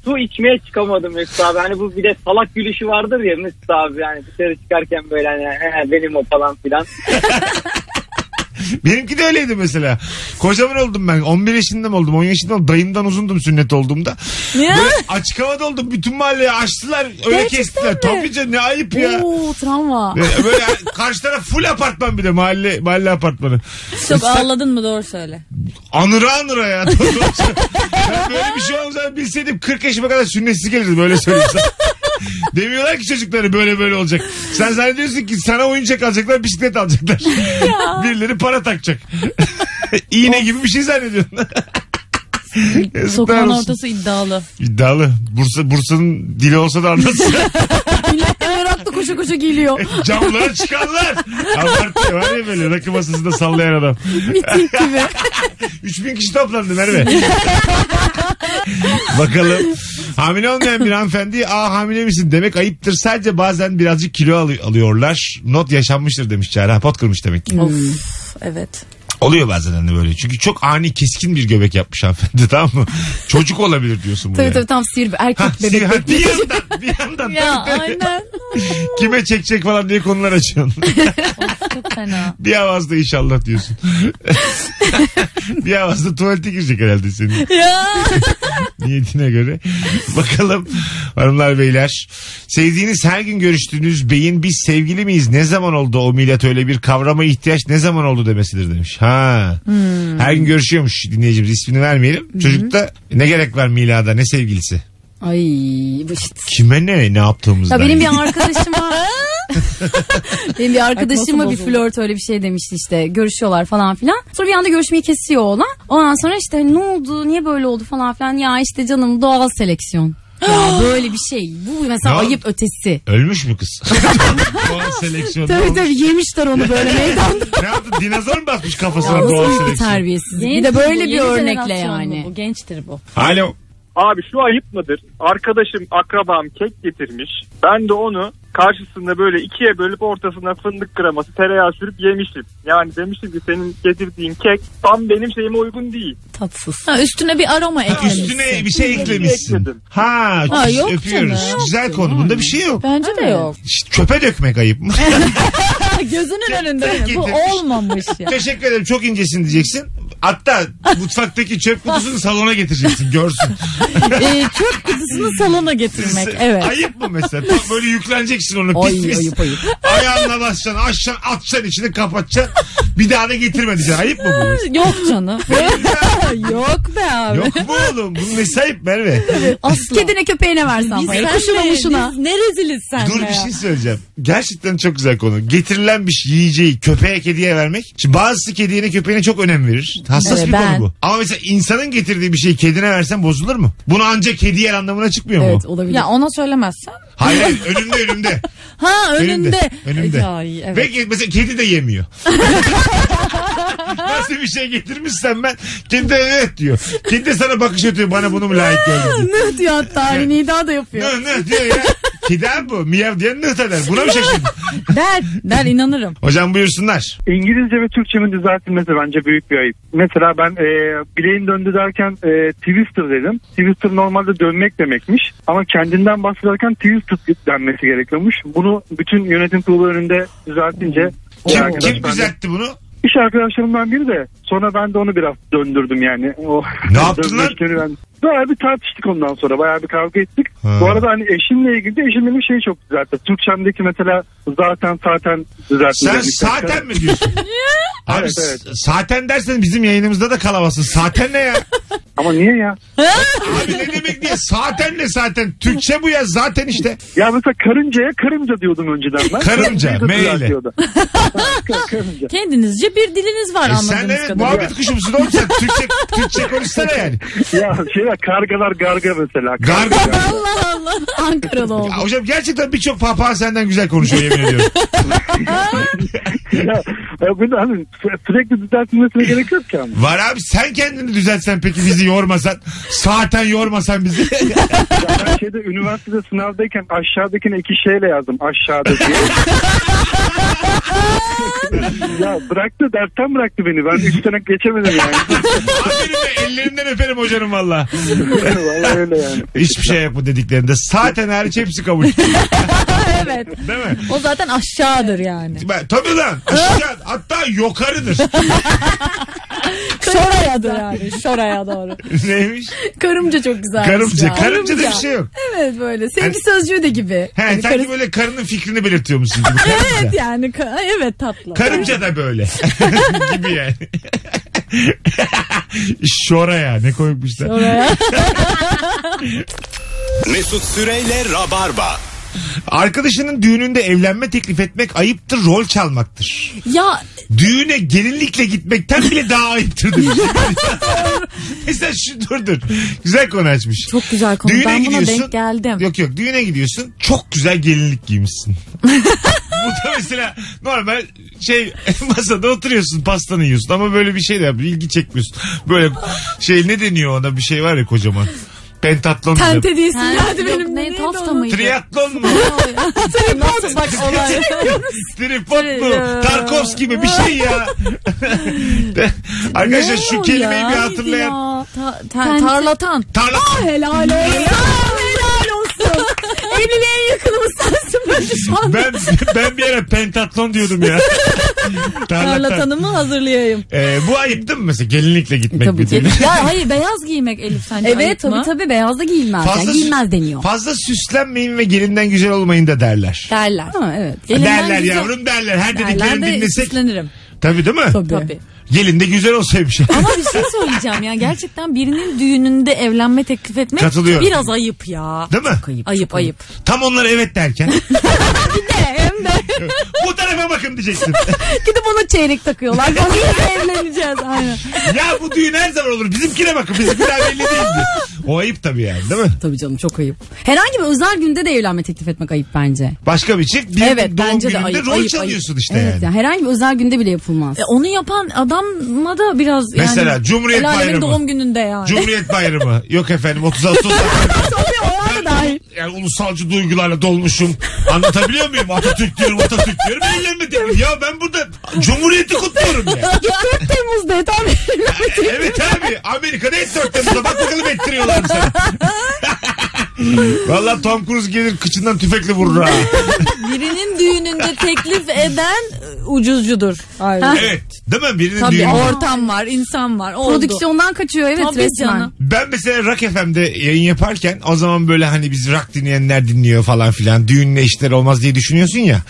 [SPEAKER 6] su içmeye çıkamadım Mesut abi. Hani bu bir de salak gülüşü vardır ya Mesut abi. Yani dışarı çıkarken böyle hani "He, benim o falan filan.
[SPEAKER 2] Benimki de öyleydi mesela. Kocaman oldum ben. 11 yaşında mı oldum? 10 yaşında mı? Dayımdan uzundum sünnet olduğumda.
[SPEAKER 3] Ya.
[SPEAKER 2] Böyle açık havada oldum. Bütün mahalleye açtılar. Öyle
[SPEAKER 3] Ah! Gerçekten
[SPEAKER 2] kestiler.
[SPEAKER 3] mi?
[SPEAKER 2] Tabii canım ne ayıp ya.
[SPEAKER 3] Oo travma.
[SPEAKER 2] Böyle böyle karşı taraf full apartman bir de mahalle mahalle apartmanı.
[SPEAKER 4] Çok ağladın mı doğru söyle.
[SPEAKER 2] Anıra anıra ya. [LAUGHS] ben böyle bir şey olacağını bilseydim 40 yaşıma kadar sünnetsiz gelirdim böyle söyleyeyim sana. [LAUGHS] Demiyorlar ki çocukları böyle böyle olacak. Sen zannediyorsun ki sana oyuncak alacaklar
[SPEAKER 4] [LAUGHS]
[SPEAKER 2] bisiklet alacaklar. Birileri para takacak. [LAUGHS] İğne gibi bir
[SPEAKER 4] [LAUGHS]
[SPEAKER 2] şey zannediyorsun. Yazıklar
[SPEAKER 4] Sokağın
[SPEAKER 2] olsun.
[SPEAKER 4] ortası iddialı.
[SPEAKER 2] İddialı. Bursa, Bursa'nın dili olsa da anlatsın.
[SPEAKER 3] [LAUGHS]
[SPEAKER 2] [LAUGHS]
[SPEAKER 3] Millet de meraklı koşuyor. koşa koşa geliyor. [LAUGHS]
[SPEAKER 2] Camlara çıkanlar. Abartıyor var ya böyle rakı masasında sallayan adam.
[SPEAKER 3] Miting gibi.
[SPEAKER 2] 3000 kişi
[SPEAKER 4] [LAUGHS]
[SPEAKER 2] toplandı Merve. Bakalım. Hamile olmayan bir hanımefendi aa hamile misin demek ayıptır. Sadece bazen birazcık kilo alı- alıyorlar. Not yaşanmıştır demiş Çağrı. Ha, Pot kırmış demek ki.
[SPEAKER 4] Of evet.
[SPEAKER 2] Oluyor bazen hani böyle. Çünkü çok ani keskin bir göbek yapmış hanımefendi [LAUGHS] tamam mı? Çocuk olabilir diyorsun bu
[SPEAKER 3] tabii
[SPEAKER 2] yani.
[SPEAKER 3] tabii tam sihir erkek
[SPEAKER 2] Ha,
[SPEAKER 3] bebek.
[SPEAKER 2] sihir- [LAUGHS] bir yandan bir yandan
[SPEAKER 4] Ya
[SPEAKER 2] tabii,
[SPEAKER 3] [LAUGHS]
[SPEAKER 2] tabii.
[SPEAKER 4] aynen.
[SPEAKER 2] kime çekecek falan diye
[SPEAKER 4] [LAUGHS]
[SPEAKER 2] konular açıyorsun.
[SPEAKER 4] Çok fena.
[SPEAKER 2] bir avazda
[SPEAKER 4] [LAUGHS]
[SPEAKER 2] inşallah diyorsun. [LAUGHS] bir avazda tuvalete girecek herhalde senin.
[SPEAKER 4] Ya.
[SPEAKER 2] [LAUGHS] niyetine göre. Bakalım hanımlar beyler. Sevdiğiniz her gün görüştüğünüz beyin biz sevgili miyiz? Ne zaman oldu o millet öyle bir kavrama ihtiyaç ne zaman oldu demesidir demiş. Ha.
[SPEAKER 3] Hmm.
[SPEAKER 2] Her gün görüşüyormuş dinleyicimiz ismini vermeyelim. Çocuk da ne gerek var milada ne sevgilisi.
[SPEAKER 3] Ay bu işte.
[SPEAKER 2] Kime ne ne yaptığımızdan.
[SPEAKER 3] Ya benim bir arkadaşıma [LAUGHS] benim bir arkadaşıma
[SPEAKER 4] Bak
[SPEAKER 3] bir
[SPEAKER 4] nasıl
[SPEAKER 3] flört öyle bir şey demişti işte görüşüyorlar falan filan. Sonra bir anda görüşmeyi kesiyor oğlan. Ondan sonra işte hani ne oldu niye böyle oldu falan filan ya işte canım doğal seleksiyon. [GASPS] Ya böyle bir şey. Bu mesela
[SPEAKER 2] Ya.
[SPEAKER 3] ayıp ötesi.
[SPEAKER 2] Ölmüş
[SPEAKER 3] [LAUGHS]
[SPEAKER 2] mü kız? doğal seleksiyon.
[SPEAKER 3] Tabii tabii yemişler onu
[SPEAKER 2] [LAUGHS]
[SPEAKER 3] böyle meydanda.
[SPEAKER 2] Ne yaptı? Dinozor mu basmış
[SPEAKER 3] Ya,
[SPEAKER 2] kafasına doğal
[SPEAKER 3] Nasıl bir
[SPEAKER 2] seleksiyon?
[SPEAKER 3] terbiyesizlik. Bir de böyle bir örnekle yani.
[SPEAKER 4] Bu gençtir bu.
[SPEAKER 2] Alo.
[SPEAKER 11] Abi şu ayıp mıdır? Arkadaşım, akrabam kek getirmiş. Ben de onu karşısında böyle ikiye bölüp ortasına fındık kreması, tereyağı sürüp yemiştim. Yani demiştim ki senin getirdiğin kek tam benim şeyime uygun değil.
[SPEAKER 4] Tatsız. Ha, üstüne bir aroma eklemişsin.
[SPEAKER 2] Üstüne bir şey
[SPEAKER 11] Üstüne bir
[SPEAKER 2] eklemişsin.
[SPEAKER 11] ekledim.
[SPEAKER 2] Ha,
[SPEAKER 4] Ha, yok
[SPEAKER 2] öpüyoruz.
[SPEAKER 4] canım.
[SPEAKER 2] Güzel konu. Bunda bir şey yok.
[SPEAKER 4] Bence de yok.
[SPEAKER 2] Şşt, Çöpe
[SPEAKER 4] [LAUGHS]
[SPEAKER 2] dökmek ayıp mı?
[SPEAKER 4] Ha, gözünün önünde. Bu
[SPEAKER 2] getirmiş.
[SPEAKER 4] olmamış
[SPEAKER 2] [LAUGHS]
[SPEAKER 4] ya.
[SPEAKER 2] Teşekkür ederim çok incesin diyeceksin. Hatta mutfaktaki çöp kutusunu salona getireceksin
[SPEAKER 4] [LAUGHS]
[SPEAKER 2] görsün.
[SPEAKER 4] Ee, çöp kutusunu salona getirmek. Evet.
[SPEAKER 2] Ayıp mı mesela? Tam böyle yükleneceksin onu
[SPEAKER 4] Ay,
[SPEAKER 2] pis pis.
[SPEAKER 4] ayıp, ayıp.
[SPEAKER 2] Ayağınla basacaksın aşacaksın atacaksın içine kapatacaksın. Bir daha da getirme diyeceksin. Ayıp mı bu? mesela?
[SPEAKER 4] Yok canım. Yok be [LAUGHS] abi.
[SPEAKER 2] Yok mu oğlum? Bunun nesi ayıp Merve?
[SPEAKER 4] Asla.
[SPEAKER 3] Kedine köpeğine versen.
[SPEAKER 4] Biz
[SPEAKER 3] parayı.
[SPEAKER 4] senle-
[SPEAKER 3] Kuşuna muşuna.
[SPEAKER 4] biz Ne reziliz sen
[SPEAKER 2] Dur
[SPEAKER 4] be
[SPEAKER 2] bir
[SPEAKER 4] ya.
[SPEAKER 2] şey söyleyeceğim. Gerçekten çok güzel konu. Getirilen bir şey, yiyeceği köpeğe kediye vermek. Şimdi bazısı kediyene köpeğine çok önem verir. Hassas
[SPEAKER 4] Evet,
[SPEAKER 2] bir
[SPEAKER 4] ben.
[SPEAKER 2] konu bu. Ama mesela insanın getirdiği bir şeyi kedine versen bozulur mu? Bunu ancak kedi yer anlamına çıkmıyor mu?
[SPEAKER 3] Evet olabilir.
[SPEAKER 4] Ya ona söylemezsen.
[SPEAKER 2] Hayır hayır,
[SPEAKER 4] [LAUGHS]
[SPEAKER 2] önümde önümde.
[SPEAKER 4] Ha önünde.
[SPEAKER 2] Önümde.
[SPEAKER 4] Ay, evet.
[SPEAKER 2] Ve ke- mesela kedi de yemiyor. [LAUGHS] Nasıl bir şey getirmişsen ben kedi de evet diyor. Kedi de sana bakış atıyor bana bunu mu layık
[SPEAKER 4] [LAUGHS]
[SPEAKER 2] gördün diye.
[SPEAKER 3] Ne diyor hatta hani Nida da yapıyor.
[SPEAKER 2] Nıh nıh diyor ya. Kedi abi bu. Miyav diyen nıh da der. Buna mı şaşırdın?
[SPEAKER 4] Der. Der inanırım.
[SPEAKER 2] Hocam buyursunlar.
[SPEAKER 6] İngilizce ve Türkçemin düzeltilmesi bence büyük bir ayıp. Mesela ben e, bileğin döndü derken e, twister dedim. Twister normalde dönmek demekmiş. Ama kendinden bahsederken twisted denmesi gerekiyormuş. Bunu bütün yönetim kurulu önünde düzeltince...
[SPEAKER 2] Kim,
[SPEAKER 6] Arkadaş
[SPEAKER 2] kim
[SPEAKER 6] ben de-
[SPEAKER 2] düzeltti bunu?
[SPEAKER 6] İş arkadaşlarımdan biri de sonra ben de onu biraz döndürdüm yani. O [LAUGHS]
[SPEAKER 2] Ne yaptın lan?
[SPEAKER 6] dönüşleri Ben... Bayağı bir tartıştık ondan sonra. Bayağı bir kavga ettik.
[SPEAKER 2] Ha.
[SPEAKER 6] Bu arada hani eşimle ilgili de eşim benim şeyi çok düzeltti. Türkçemdeki mesela zaten zaten düzelttim.
[SPEAKER 2] Sen
[SPEAKER 6] demiş.
[SPEAKER 2] zaten mi
[SPEAKER 6] [LAUGHS]
[SPEAKER 2] diyorsun? Abi
[SPEAKER 6] Evet,
[SPEAKER 2] s-
[SPEAKER 6] evet.
[SPEAKER 2] zaten dersen bizim yayınımızda da kalamazsın. Zaten ne ya?
[SPEAKER 6] Ama niye ya?
[SPEAKER 2] Abi ne demek diye? Zaten ne zaten? Türkçe bu ya zaten işte.
[SPEAKER 6] Ya mesela karıncaya karınca diyordum önceden ben.
[SPEAKER 2] Karınca,
[SPEAKER 6] Karıncayı da
[SPEAKER 2] M ile.
[SPEAKER 6] düzeltiyordu. Kar- karınca.
[SPEAKER 4] Kendinizce bir diliniz var
[SPEAKER 2] E
[SPEAKER 4] anladığınız
[SPEAKER 2] sen evet
[SPEAKER 4] kadarıyla.
[SPEAKER 2] muhabbet kuşu musun oğlum sen? Türkçe, Türkçe konuşsana yani.
[SPEAKER 6] Ya şeyler kargalar garga mesela.
[SPEAKER 2] Garga.
[SPEAKER 4] Allah Allah.
[SPEAKER 3] Ankaralı oldu.
[SPEAKER 2] Ya hocam gerçekten birçok papağan senden güzel konuşuyor yemin ediyorum.
[SPEAKER 6] [LAUGHS] ya, ya bunu hani sü- sürekli düzeltilmesine gerek yok ki ama.
[SPEAKER 2] Var abi sen kendini düzeltsen peki bizi yormasan. Zaten yormasan bizi.
[SPEAKER 6] Ya ben şeyde üniversitede sınavdayken aşağıdakine iki şeyle yazdım aşağıda
[SPEAKER 2] [LAUGHS]
[SPEAKER 6] diye. ya bıraktı dersten bıraktı beni. Ben üç sene geçemedim
[SPEAKER 2] [LAUGHS]
[SPEAKER 6] yani.
[SPEAKER 2] Aferin de ellerinden öperim hocanım valla.
[SPEAKER 6] Vallahi öyle yani.
[SPEAKER 2] Hiçbir şey yok bu dediklerinde. Zaten hariç hepsi kabul.
[SPEAKER 4] evet.
[SPEAKER 2] Değil mi?
[SPEAKER 4] O zaten aşağıdır yani.
[SPEAKER 2] Ben, tabii lan.
[SPEAKER 4] [LAUGHS]
[SPEAKER 2] Aşağı, hatta yukarıdır.
[SPEAKER 4] Şorayadır yani. Şoraya doğru.
[SPEAKER 2] Neymiş?
[SPEAKER 3] Karımca çok güzel.
[SPEAKER 2] Karımca. Karımca da bir şey yok.
[SPEAKER 3] Evet böyle. Sevgi sözcüğü de gibi.
[SPEAKER 2] He,
[SPEAKER 3] Hani
[SPEAKER 2] sanki
[SPEAKER 3] karı-
[SPEAKER 2] böyle karının fikrini belirtiyormuşsun gibi. Karımca.
[SPEAKER 4] [LAUGHS] Evet yani. ka- Evet tatlı.
[SPEAKER 2] Karımca
[SPEAKER 4] [LAUGHS]
[SPEAKER 2] da böyle. gibi yani. [LAUGHS] Şoraya ne koymuşlar.
[SPEAKER 4] Şoraya.
[SPEAKER 1] Mesut Süreyle Rabarba.
[SPEAKER 2] Arkadaşının düğününde evlenme teklif etmek ayıptır, rol çalmaktır.
[SPEAKER 4] Ya
[SPEAKER 2] Düğüne gelinlikle gitmekten bile daha
[SPEAKER 4] [LAUGHS]
[SPEAKER 2] ayıptır demiş. Mesela şu dur dur. Güzel konu açmış.
[SPEAKER 4] Çok güzel konu. Ben buna denk geldim.
[SPEAKER 2] Yok yok düğüne gidiyorsun çok güzel
[SPEAKER 4] [LAUGHS]
[SPEAKER 2] gelinlik giymişsin. Bu da mesela normal şey [LAUGHS] masada oturuyorsun pastanı yiyorsun ama böyle bir şey de yap, ilgi çekmiyorsun. Böyle şey ne deniyor ona bir şey var ya kocaman. Pentatlon. mu?
[SPEAKER 4] tente diyesin
[SPEAKER 3] Ha,
[SPEAKER 4] geldi
[SPEAKER 3] yok,
[SPEAKER 4] benim.
[SPEAKER 3] ne,
[SPEAKER 4] Neydi
[SPEAKER 3] tafta
[SPEAKER 4] onun?
[SPEAKER 3] mıydı?
[SPEAKER 2] Triatlon
[SPEAKER 4] [LAUGHS]
[SPEAKER 2] mu?
[SPEAKER 4] Nasıl bak
[SPEAKER 2] [LAUGHS]
[SPEAKER 4] olay.
[SPEAKER 2] Tripod
[SPEAKER 4] Şey
[SPEAKER 2] mu? Tarkovski mi? Bir
[SPEAKER 4] [LAUGHS]
[SPEAKER 2] şey ya. Arkadaşlar şu kelimeyi bir hatırlayan.
[SPEAKER 4] tarlatan.
[SPEAKER 2] Tarla...
[SPEAKER 4] Helal olsun. Helal olsun. Evliliğe yakınımız sensin bence şu an.
[SPEAKER 2] Ben, ben bir ara pentatlon
[SPEAKER 4] [LAUGHS]
[SPEAKER 2] diyordum ya. Tarlatan.
[SPEAKER 4] Tarlatanımı hazırlayayım.
[SPEAKER 2] Ee, bu ayıp değil mi mesela gelinlikle gitmek bir türlü?
[SPEAKER 4] ya hayır beyaz giymek Elif sence
[SPEAKER 3] Evet
[SPEAKER 4] ayıp
[SPEAKER 3] tabii
[SPEAKER 4] mı?
[SPEAKER 3] tabii beyaz da giyilmez.
[SPEAKER 2] [LAUGHS] Fazla
[SPEAKER 3] yani giyilmez
[SPEAKER 2] süs-
[SPEAKER 3] deniyor.
[SPEAKER 2] Fazla süslenmeyin ve gelinden güzel olmayın da derler.
[SPEAKER 4] Derler.
[SPEAKER 3] Ha, evet.
[SPEAKER 4] Gelinden
[SPEAKER 2] derler
[SPEAKER 4] güzel-
[SPEAKER 2] yavrum derler. Her
[SPEAKER 4] Derler
[SPEAKER 2] dediklerini
[SPEAKER 4] de
[SPEAKER 2] dinlesek.
[SPEAKER 4] süslenirim.
[SPEAKER 2] Tabii değil mi?
[SPEAKER 3] Tabii.
[SPEAKER 4] Tabii.
[SPEAKER 2] Gelin de
[SPEAKER 4] [LAUGHS]
[SPEAKER 2] güzel olsaymış. [LAUGHS]
[SPEAKER 4] Ama bir şey söyleyeceğim ya gerçekten birinin düğününde evlenme teklif etmek
[SPEAKER 2] Katılıyorum.
[SPEAKER 4] biraz ayıp ya.
[SPEAKER 2] Değil mi?
[SPEAKER 4] Ayıp ayıp.
[SPEAKER 2] Tam onlara evet derken. [LAUGHS]
[SPEAKER 4] Bir de hem de
[SPEAKER 2] bu tarafa bakın diyeceksin. [LAUGHS]
[SPEAKER 3] Gidip ona
[SPEAKER 4] [LAUGHS]
[SPEAKER 3] çeyrek takıyorlar.
[SPEAKER 4] bak biz evleneceğiz aynen.
[SPEAKER 2] ya bu düğün her zaman olur. Bizimkine bakın. Bizimki daha belli değildi. O ayıp tabii yani değil mi?
[SPEAKER 3] Tabii canım çok ayıp. Herhangi bir özel günde de evlenme teklif etmek ayıp bence.
[SPEAKER 2] Başka bir çift bir
[SPEAKER 3] evet
[SPEAKER 2] doğum
[SPEAKER 3] bence de
[SPEAKER 2] gününde
[SPEAKER 3] ayıp.
[SPEAKER 2] rol
[SPEAKER 3] ayıp,
[SPEAKER 2] çalıyorsun
[SPEAKER 3] ayıp.
[SPEAKER 2] işte
[SPEAKER 3] evet,
[SPEAKER 2] yani.
[SPEAKER 3] Herhangi bir özel günde bile yapılmaz.
[SPEAKER 4] E, onu yapan adama da biraz yani.
[SPEAKER 2] Mesela Cumhuriyet
[SPEAKER 4] El alemin
[SPEAKER 2] Bayramı.
[SPEAKER 4] doğum gününde yani.
[SPEAKER 2] Cumhuriyet Bayramı. Yok efendim 30
[SPEAKER 4] [LAUGHS]
[SPEAKER 2] Ağustos. [LAUGHS]
[SPEAKER 4] Cumhuriyet dahil.
[SPEAKER 2] yani ulusalcı duygularla dolmuşum. Anlatabiliyor muyum? Atatürk diyorum, Atatürk diyorum. Eğlenme diyorum. Ya ben burada Cumhuriyeti kutluyorum ya.
[SPEAKER 3] 4 Temmuz'da et abi.
[SPEAKER 2] evet abi. Amerika'da et sörtlerimize bak bakalım ettiriyorlar mı sana. Valla Tom Cruise gelir kıçından tüfekle vurur ha.
[SPEAKER 4] Birinin düğününde teklif eden e, ucuzcudur. Aynen.
[SPEAKER 2] Evet. Değil mi? Birinin
[SPEAKER 4] Tabii
[SPEAKER 2] düğünü.
[SPEAKER 4] ortam var, insan var. Oldu.
[SPEAKER 3] Prodüksiyondan kaçıyor evet
[SPEAKER 4] Tabii
[SPEAKER 3] resmen.
[SPEAKER 4] canım.
[SPEAKER 2] Ben mesela Rock FM'de yayın yaparken o zaman böyle hani biz rock dinleyenler dinliyor falan filan. Düğünle işler olmaz diye düşünüyorsun ya.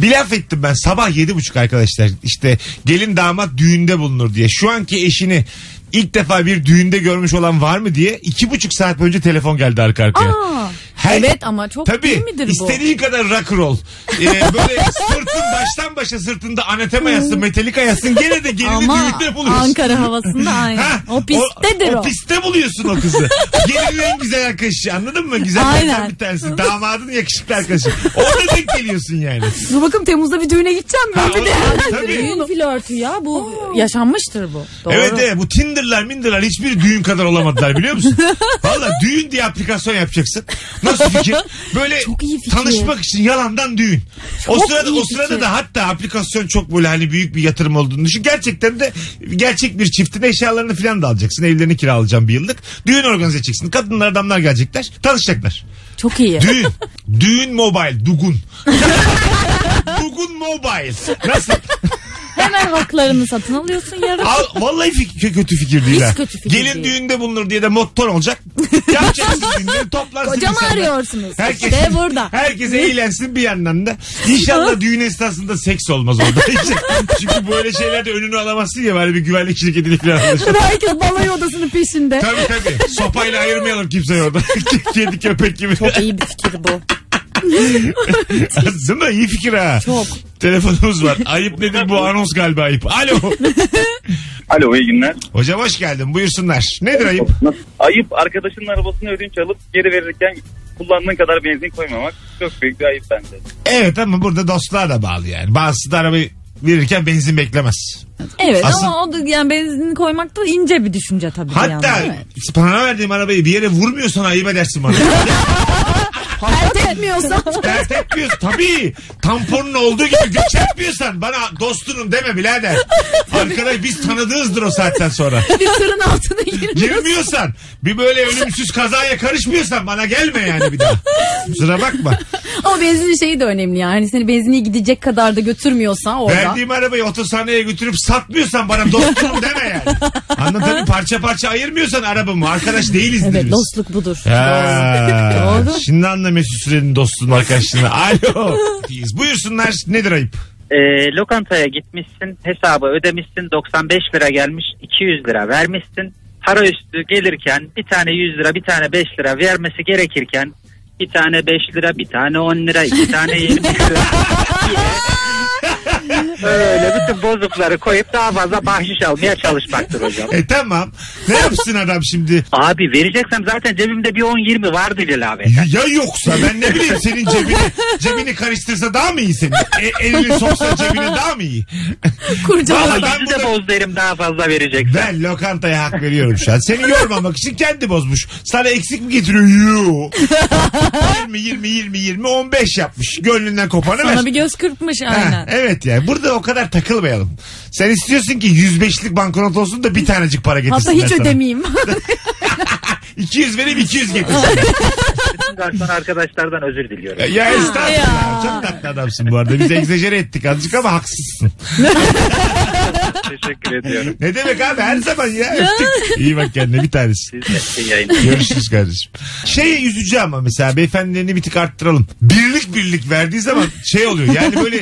[SPEAKER 2] Bir laf ettim ben sabah yedi buçuk arkadaşlar. İşte gelin damat düğünde bulunur diye. Şu anki eşini ilk defa bir düğünde görmüş olan var mı diye iki buçuk saat boyunca telefon geldi arka arkaya.
[SPEAKER 4] Aa,
[SPEAKER 2] Her-
[SPEAKER 4] evet ama çok değil midir bu?
[SPEAKER 2] istediğin kadar rock roll. Ee, böyle sırtın baştan başa sırtında anatema yazsın, metalika yazsın gene de gelini
[SPEAKER 4] Ama
[SPEAKER 2] düğünde buluyorsun.
[SPEAKER 4] Ankara
[SPEAKER 2] [LAUGHS]
[SPEAKER 4] havasında aynı.
[SPEAKER 2] Ha,
[SPEAKER 4] o pistedir
[SPEAKER 2] o,
[SPEAKER 4] o.
[SPEAKER 2] piste buluyorsun
[SPEAKER 4] [LAUGHS]
[SPEAKER 2] o kızı. Gelinin en güzel arkadaşı anladın mı? Güzel
[SPEAKER 4] Aynen.
[SPEAKER 2] bir tanesi. Damadın yakışıklı arkadaşı. Orada denk geliyorsun yani.
[SPEAKER 3] Dur bakalım Temmuz'da bir düğüne gideceğim ben
[SPEAKER 2] Ha,
[SPEAKER 3] bir de. [LAUGHS]
[SPEAKER 2] o- tabii.
[SPEAKER 4] Düğün flörtü ya bu yaşanmıştır bu. Doğru.
[SPEAKER 2] Evet e, evet bu Tinder'lar Minder'lar hiçbir düğün kadar olamadılar
[SPEAKER 4] [LAUGHS]
[SPEAKER 2] biliyor musun? Valla düğün diye aplikasyon yapacaksın. Nasıl fikir? Böyle
[SPEAKER 4] iyi fikir.
[SPEAKER 2] tanışmak için yalandan düğün. o
[SPEAKER 4] Çok
[SPEAKER 2] sırada
[SPEAKER 4] iyi
[SPEAKER 2] o sırada
[SPEAKER 4] fikir.
[SPEAKER 2] da hatta aplikasyon çok böyle hani büyük bir yatırım olduğunu düşün. Gerçekten de gerçek bir çiftin eşyalarını falan da alacaksın. Evlerini kiralayacaksın bir yıllık. Düğün organize edeceksin. Kadınlar adamlar gelecekler. Tanışacaklar.
[SPEAKER 4] Çok iyi.
[SPEAKER 2] Düğün. Düğün mobile. Dugun. [LAUGHS] Dugun mobile. Nasıl?
[SPEAKER 4] Hemen haklarını satın alıyorsun
[SPEAKER 2] [LAUGHS]
[SPEAKER 4] yarın.
[SPEAKER 2] Al, vallahi fik- kötü fikir değil
[SPEAKER 4] Hiç
[SPEAKER 2] ha.
[SPEAKER 4] kötü fikir değil.
[SPEAKER 2] Gelin düğünde bulunur diye de motor olacak. Yapacaksın düğünleri toplansın.
[SPEAKER 4] Kocamı
[SPEAKER 2] insanlar.
[SPEAKER 4] arıyorsunuz.
[SPEAKER 2] Herkes,
[SPEAKER 4] İşte burada.
[SPEAKER 2] Herkes eğlensin bir yandan da. İnşallah düğün esnasında seks olmaz orada. [LAUGHS] Çünkü böyle şeylerde önünü alamazsın ya böyle bir güvenlik şirketiyle falan anlaşılır.
[SPEAKER 3] Herkes balayı odasının peşinde.
[SPEAKER 2] Tabii tabii. Sopayla ayırmayalım kimseyi orada. [LAUGHS] Kedi köpek gibi.
[SPEAKER 4] iyi bir fikir bu.
[SPEAKER 2] [LAUGHS] Değil mi? İyi fikir ha.
[SPEAKER 4] Çok.
[SPEAKER 2] Telefonumuz var. Ayıp nedir bu anons galiba ayıp. Alo.
[SPEAKER 12] Alo iyi günler.
[SPEAKER 2] Hocam hoş geldin. Buyursunlar. Nedir ayıp?
[SPEAKER 12] Ayıp arkadaşının arabasını ödünç alıp geri verirken kullandığın kadar benzin koymamak çok büyük bir ayıp bence.
[SPEAKER 2] Evet ama burada dostluğa da bağlı yani. Bazısı da arabayı verirken benzin beklemez.
[SPEAKER 4] Evet
[SPEAKER 2] Asıl-
[SPEAKER 4] ama o da yani benzin koymak da ince bir düşünce tabii.
[SPEAKER 2] Hatta
[SPEAKER 4] Yani.
[SPEAKER 2] bana verdiğim arabayı bir yere vurmuyorsan ayıp edersin bana.
[SPEAKER 3] Etmiyorsa
[SPEAKER 2] Dert etmiyorsun. Tabii tamponun olduğu gibi göç etmiyorsan bana dostunum deme birader. Arkadaş biz tanıdığızdır o saatten sonra.
[SPEAKER 3] [LAUGHS] bir tırın altına girin.
[SPEAKER 2] Girmiyorsan bir böyle ölümsüz kazaya karışmıyorsan bana gelme yani bir daha. Kusura bakma.
[SPEAKER 3] Ama benzin şeyi de önemli yani. Hani seni benzinliğe gidecek kadar da götürmüyorsa orada.
[SPEAKER 2] Verdiğim arabayı otosaneye götürüp satmıyorsan bana dostum deme yani. Anlatabiliyor Parça parça ayırmıyorsan arabamı arkadaş değiliz
[SPEAKER 4] Evet
[SPEAKER 2] biz.
[SPEAKER 4] dostluk budur.
[SPEAKER 2] Ha,
[SPEAKER 4] [LAUGHS] Doğru.
[SPEAKER 2] Şimdi anla Mesut Süren'in dostluğun arkadaşlığını. Alo. Biz Buyursunlar nedir ayıp?
[SPEAKER 13] Ee, lokantaya gitmişsin, hesabı ödemişsin, 95 lira gelmiş, 200 lira vermişsin. Para üstü gelirken bir tane 100 lira, bir tane 5 lira vermesi gerekirken Bir tane 5 lira, bir tane 10 lira, iki tane 20 lira. Öyle bütün bozukları koyup daha fazla bahşiş almaya çalışmaktır hocam.
[SPEAKER 2] E tamam. Ne yapsın adam şimdi?
[SPEAKER 13] Abi vereceksem zaten cebimde bir 10-20 vardı Celal abi.
[SPEAKER 2] Ya yoksa ben ne bileyim senin cebini cebini karıştırsa daha mı iyi senin? E, elini soksa cebine daha mı iyi? Vallahi ben
[SPEAKER 13] de boz derim daha fazla vereceksin.
[SPEAKER 2] Ben lokantaya hak veriyorum şu an. Seni yormamak için kendi bozmuş. Sana eksik mi getiriyor? Yoo. 20, 20, 20, 20, 15 yapmış. Gönlünden kopanı ver.
[SPEAKER 4] Sana bir göz kırpmış
[SPEAKER 2] Ha,
[SPEAKER 4] aynen.
[SPEAKER 2] evet yani burada o kadar takılmayalım. Sen istiyorsun ki 105'lik banknot olsun da bir tanecik para getirsinler
[SPEAKER 3] Hatta hiç
[SPEAKER 2] sana. [LAUGHS]
[SPEAKER 3] ödemeyeyim.
[SPEAKER 2] 200 verip 200 getirsin.
[SPEAKER 13] Bütün garson arkadaşlardan özür diliyorum.
[SPEAKER 2] ya estağfurullah. Çok tatlı adamsın bu arada. Biz egzajere ettik azıcık ama haksızsın.
[SPEAKER 13] Teşekkür ediyorum.
[SPEAKER 2] Ne demek abi her zaman ya. Öptük. İyi bak kendine bir tanesi. Görüşürüz kardeşim. Şey üzücü ama mesela beyefendilerini bir tık arttıralım. Birlik birlik verdiği zaman şey oluyor. Yani böyle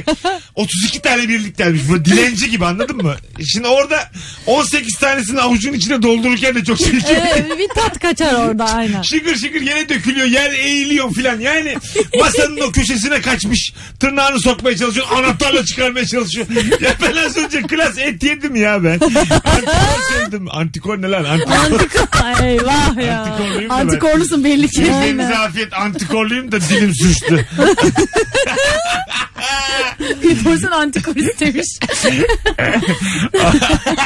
[SPEAKER 2] 32 tane birlik gelmiş. Böyle dilenci gibi anladın mı? Şimdi orada 18 tanesini avucun içine doldururken de çok çirkin.
[SPEAKER 4] [LAUGHS] Evet, bir tat kaçar orada aynen.
[SPEAKER 2] Şıkır şıkır yere dökülüyor. Yer eğiliyor filan. Yani masanın o köşesine kaçmış. Tırnağını sokmaya çalışıyor. Anahtarla çıkarmaya çalışıyor. Ya ben az önce klas et yedim ya ben. Antikor sevdim. Antikor ne lan? Antikor.
[SPEAKER 4] [LAUGHS] Antikor. Eyvah ya.
[SPEAKER 2] Antikorluyum da ben.
[SPEAKER 4] Antikorlusun belli ki. [LAUGHS]
[SPEAKER 2] Yüzlerinize afiyet antikorluyum da dilim suçtu.
[SPEAKER 4] Bir porsiyon antikor istemiş.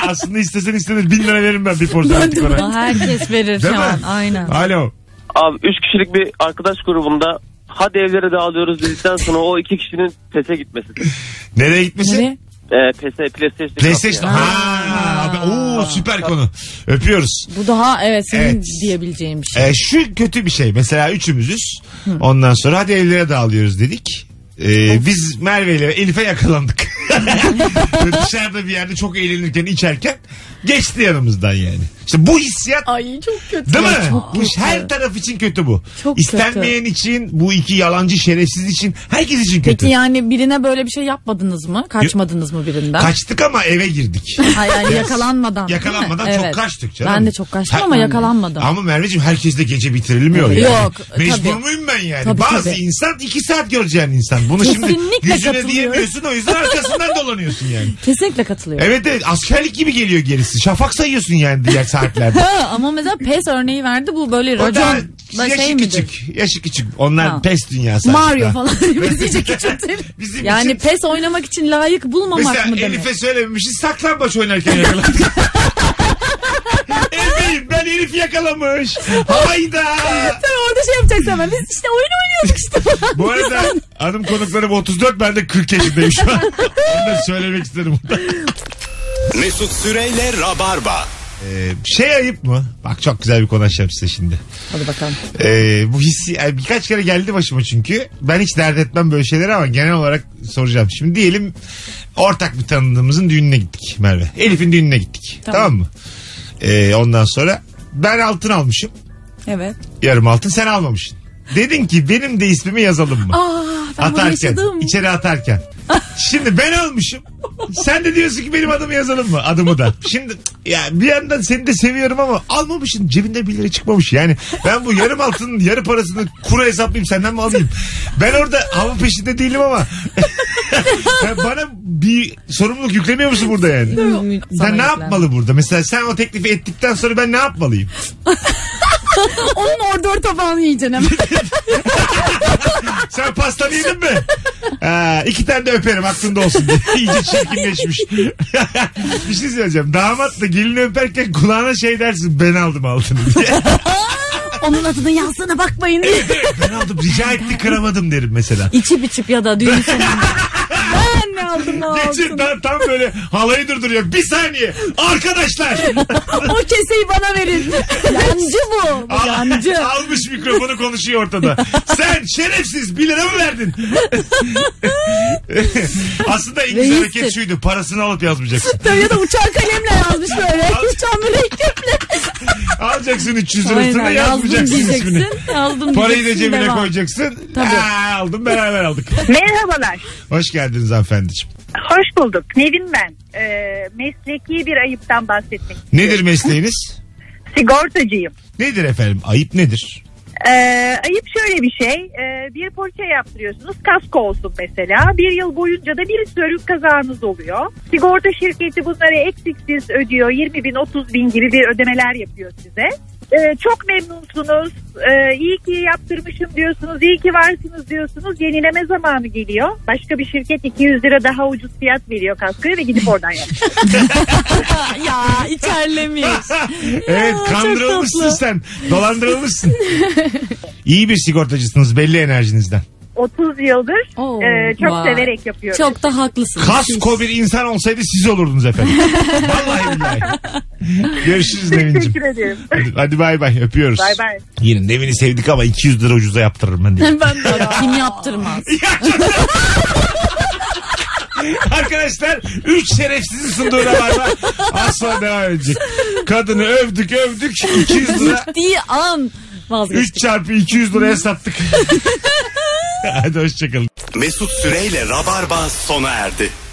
[SPEAKER 2] Aslında istesen istedin bin lira veririm ben bir porsiyon antikora.
[SPEAKER 4] Herkes verir
[SPEAKER 2] Değil
[SPEAKER 4] şu
[SPEAKER 2] mi?
[SPEAKER 4] an aynen.
[SPEAKER 2] Alo.
[SPEAKER 14] [LAUGHS] Abi 3 kişilik bir arkadaş grubunda hadi evlere dağılıyoruz dedikten sonra o iki kişinin PES'e gitmesi.
[SPEAKER 2] Nereye gitmesin?
[SPEAKER 14] Ee, PES'e PlayStation.
[SPEAKER 2] PlayStation. Ha, abi, oo, süper konu. Öpüyoruz.
[SPEAKER 4] Bu daha evet senin
[SPEAKER 2] Evet.
[SPEAKER 4] diyebileceğim bir şey.
[SPEAKER 2] Ee, şu kötü bir şey. Mesela üçümüzüz. Ondan sonra hadi evlere dağılıyoruz dedik. Ee, biz Merve ile Elif'e yakalandık. [LAUGHS] Böyle Dışarıda bir yerde çok eğlenirken içerken geçti yanımızdan yani. İşte bu hissiyat
[SPEAKER 4] Ay çok kötü.
[SPEAKER 2] Değil mi?
[SPEAKER 4] Çok
[SPEAKER 2] bu
[SPEAKER 4] kötü.
[SPEAKER 2] her taraf için kötü bu.
[SPEAKER 4] Çok
[SPEAKER 2] İstenmeyen için, bu iki yalancı şerefsiz için, herkes için kötü.
[SPEAKER 4] Peki yani birine böyle bir şey yapmadınız mı? Kaçmadınız mı birinden?
[SPEAKER 2] Kaçtık ama eve girdik.
[SPEAKER 4] Ay, yani yakalanmadan. değil mi?
[SPEAKER 2] Yakalanmadan çok
[SPEAKER 4] Evet.
[SPEAKER 2] kaçtık canım.
[SPEAKER 4] Ben de çok kaçtım
[SPEAKER 2] Ha-
[SPEAKER 4] ama yakalanmadım.
[SPEAKER 2] Ama Merveciğim herkesle gece bitirilmiyor
[SPEAKER 4] Evet.
[SPEAKER 2] yani.
[SPEAKER 4] Yok,
[SPEAKER 2] Mecbur
[SPEAKER 4] tabii.
[SPEAKER 2] muyum ben yani?
[SPEAKER 4] Tabii,
[SPEAKER 2] Bazı
[SPEAKER 4] tabii.
[SPEAKER 2] insan iki saat göreceğin insan. Bunu şimdi
[SPEAKER 4] Kesinlikle
[SPEAKER 2] yüzüne
[SPEAKER 4] katılıyorum.
[SPEAKER 2] diyemiyorsun o
[SPEAKER 4] [LAUGHS]
[SPEAKER 2] yüzden arkasından dolanıyorsun yani.
[SPEAKER 4] Kesinlikle katılıyorum.
[SPEAKER 2] Evet evet askerlik gibi geliyor gerisi. Şafak sayıyorsun yani diğer
[SPEAKER 4] [LAUGHS]
[SPEAKER 2] saatlerde.
[SPEAKER 4] Ha, ama mesela PES örneği verdi bu böyle
[SPEAKER 2] O da
[SPEAKER 4] racon da
[SPEAKER 2] yaşı
[SPEAKER 4] şey midir?
[SPEAKER 2] küçük. Yaşı küçük. Onlar
[SPEAKER 4] Ha.
[SPEAKER 2] pes dünyası.
[SPEAKER 4] Mario
[SPEAKER 2] aslında. [LAUGHS]
[SPEAKER 4] falan biz iyice küçültelim.
[SPEAKER 2] Bizim
[SPEAKER 4] yani
[SPEAKER 2] için-
[SPEAKER 4] PES oynamak için layık bulmamak mı
[SPEAKER 2] Mesela
[SPEAKER 4] demek?
[SPEAKER 2] Elif'e söylememişiz saklambaç
[SPEAKER 4] [LAUGHS]
[SPEAKER 2] oynarken yakalandık. [LAUGHS] Efendim ben Elif yakalamış.
[SPEAKER 4] [LAUGHS]
[SPEAKER 2] Hayda.
[SPEAKER 4] Tabii orada şey yapacaksın hemen. Biz işte oyun oynuyorduk
[SPEAKER 2] [LAUGHS]
[SPEAKER 4] işte.
[SPEAKER 2] Bu arada hanım konuklarım 34 ben de 40 yaşındayım şu
[SPEAKER 4] [LAUGHS]
[SPEAKER 2] an. Onu da söylemek isterim.
[SPEAKER 1] Mesut Süreyle Rabarba.
[SPEAKER 2] Ee, şey ayıp mı? Bak çok güzel bir konu açacağım size şimdi.
[SPEAKER 4] Hadi bakalım.
[SPEAKER 2] Ee, bu hissi yani birkaç kere geldi başıma çünkü. Ben hiç dert etmem böyle şeyleri ama genel olarak soracağım. Şimdi diyelim ortak bir tanıdığımızın düğününe gittik Merve. Elif'in düğününe gittik. Tamam,
[SPEAKER 4] Tamam.
[SPEAKER 2] mı? Ee, ondan sonra ben altın almışım.
[SPEAKER 4] Evet.
[SPEAKER 2] Yarım altın sen almamışsın. Dedin ki benim de ismimi yazalım mı?
[SPEAKER 4] Aa ben bunu
[SPEAKER 2] atarken,
[SPEAKER 4] yaşadım.
[SPEAKER 2] içeri atarken. Şimdi ben almışım. Sen de diyorsun ki benim adımı yazalım mı? Adımı da. Şimdi ya bir yandan seni de seviyorum ama almamışsın. Cebinde 1 lira çıkmamış. Yani ben bu yarım altının yarı parasını kura hesaplayayım senden mi alayım? Ben orada hava peşinde değilim ama. [LAUGHS] Ya bana bir sorumluluk yüklemiyor musun burada yani?
[SPEAKER 4] Sana
[SPEAKER 2] Sen ne
[SPEAKER 4] yüklen.
[SPEAKER 2] yapmalı burada? Mesela sen o teklifi ettikten sonra ben ne yapmalıyım?
[SPEAKER 4] Onun orada tabağını yiyeceksin
[SPEAKER 2] [LAUGHS]
[SPEAKER 4] hemen.
[SPEAKER 2] Sen pastanı yedin mi?
[SPEAKER 4] [LAUGHS]
[SPEAKER 2] Ha, iki tane de öperim aklında olsun diye. [LAUGHS] İyice çirkinleşmiş. [LAUGHS] bir şey söyleyeceğim. Damat da gelini öperken kulağına şey dersin ben aldım altını [LAUGHS] diye.
[SPEAKER 4] Onun adını yazsana bakmayın.
[SPEAKER 2] ben aldım rica etti kıramadım derim
[SPEAKER 4] [LAUGHS]
[SPEAKER 2] mesela.
[SPEAKER 4] İçip içip ya da düğün sonunda. ben ne aldım ne
[SPEAKER 2] Geçin
[SPEAKER 4] aldım.
[SPEAKER 2] tam, tam böyle halayı durduruyor. Bir saniye arkadaşlar.
[SPEAKER 4] [LAUGHS] o keseyi bana
[SPEAKER 2] [LAUGHS]
[SPEAKER 4] verin. Yancı bu. bu yancı.
[SPEAKER 2] Al- Almış mikrofonu konuşuyor ortada.
[SPEAKER 4] [LAUGHS]
[SPEAKER 2] Sen şerefsiz 1 lira mı verdin? Aslında en güzel
[SPEAKER 4] Reistir.
[SPEAKER 2] hareket şuydu. Parasını
[SPEAKER 4] [LAUGHS]
[SPEAKER 2] alıp yazmayacaksın.
[SPEAKER 4] Tabii ya da uçan kalemle yazmış böyle.
[SPEAKER 2] [LAUGHS]
[SPEAKER 4] Uçan mürekkep'le.
[SPEAKER 2] Alacaksın 300
[SPEAKER 4] Aynen,
[SPEAKER 2] lirasını
[SPEAKER 4] yazdım
[SPEAKER 2] yazmayacaksın ismini.
[SPEAKER 4] diyeceksin. Yazdım
[SPEAKER 2] Parayı da
[SPEAKER 4] diyeceksin,
[SPEAKER 2] cebine
[SPEAKER 4] devam.
[SPEAKER 2] koyacaksın.
[SPEAKER 4] Tabii.
[SPEAKER 2] Aa, aldım beraber aldık.
[SPEAKER 15] Merhabalar.
[SPEAKER 2] Hoş geldiniz hanımefendiciğim.
[SPEAKER 15] Hoş bulduk. Nevin ben. Ee, mesleki bir ayıptan bahsetmek.
[SPEAKER 2] Nedir mesleğiniz?
[SPEAKER 15] Sigortacıyım.
[SPEAKER 2] Nedir efendim? Ayıp nedir?
[SPEAKER 9] Ee, ayıp şöyle bir şey. Ee, bir poliçe yaptırıyorsunuz. Kasko olsun mesela. Bir yıl boyunca da bir sürü kazanız oluyor. Sigorta şirketi bunları eksiksiz ödüyor. 20 bin 30 bin gibi bir ödemeler yapıyor size. Ee, çok memnunsunuz. Ee, iyi ki yaptırmışım diyorsunuz. iyi ki varsınız diyorsunuz. Yenileme zamanı geliyor. Başka bir şirket 200 lira daha ucuz fiyat veriyor kaskoya ve gidip oradan yapıyor.
[SPEAKER 4] ya [LAUGHS] içerlemiş.
[SPEAKER 2] [LAUGHS] Evet
[SPEAKER 4] Ya, çok
[SPEAKER 2] kandırılmışsın
[SPEAKER 4] tatlı.
[SPEAKER 2] sen. Dolandırılmışsın. İyi bir sigortacısınız belli enerjinizden.
[SPEAKER 9] 30 yıldır e, çok
[SPEAKER 16] vay.
[SPEAKER 9] severek yapıyorum.
[SPEAKER 16] Çok da haklısın.
[SPEAKER 2] Kasko bir insan olsaydı siz olurdunuz efendim. Vallahi billahi. Görüşürüz Nevin'cim.
[SPEAKER 9] Teşekkür ederim.
[SPEAKER 2] Hadi, hadi bay bay öpüyoruz.
[SPEAKER 9] Bay bay.
[SPEAKER 2] Yine Nevin'i sevdik ama 200 lira ucuza yaptırırım ben
[SPEAKER 4] [LAUGHS]
[SPEAKER 2] diye.
[SPEAKER 4] ben de kim yaptırmaz.
[SPEAKER 2] Arkadaşlar 3 şerefsizin sunduğu rabarba az sonra devam edecek. Kadını övdük övdük 200 lira
[SPEAKER 4] Gittiği an vazgeç.
[SPEAKER 2] 3 çarpı 200 liraya sattık. [LAUGHS] Hadi hoşçakalın.
[SPEAKER 6] Mesut Süreyle Rabarba sona erdi.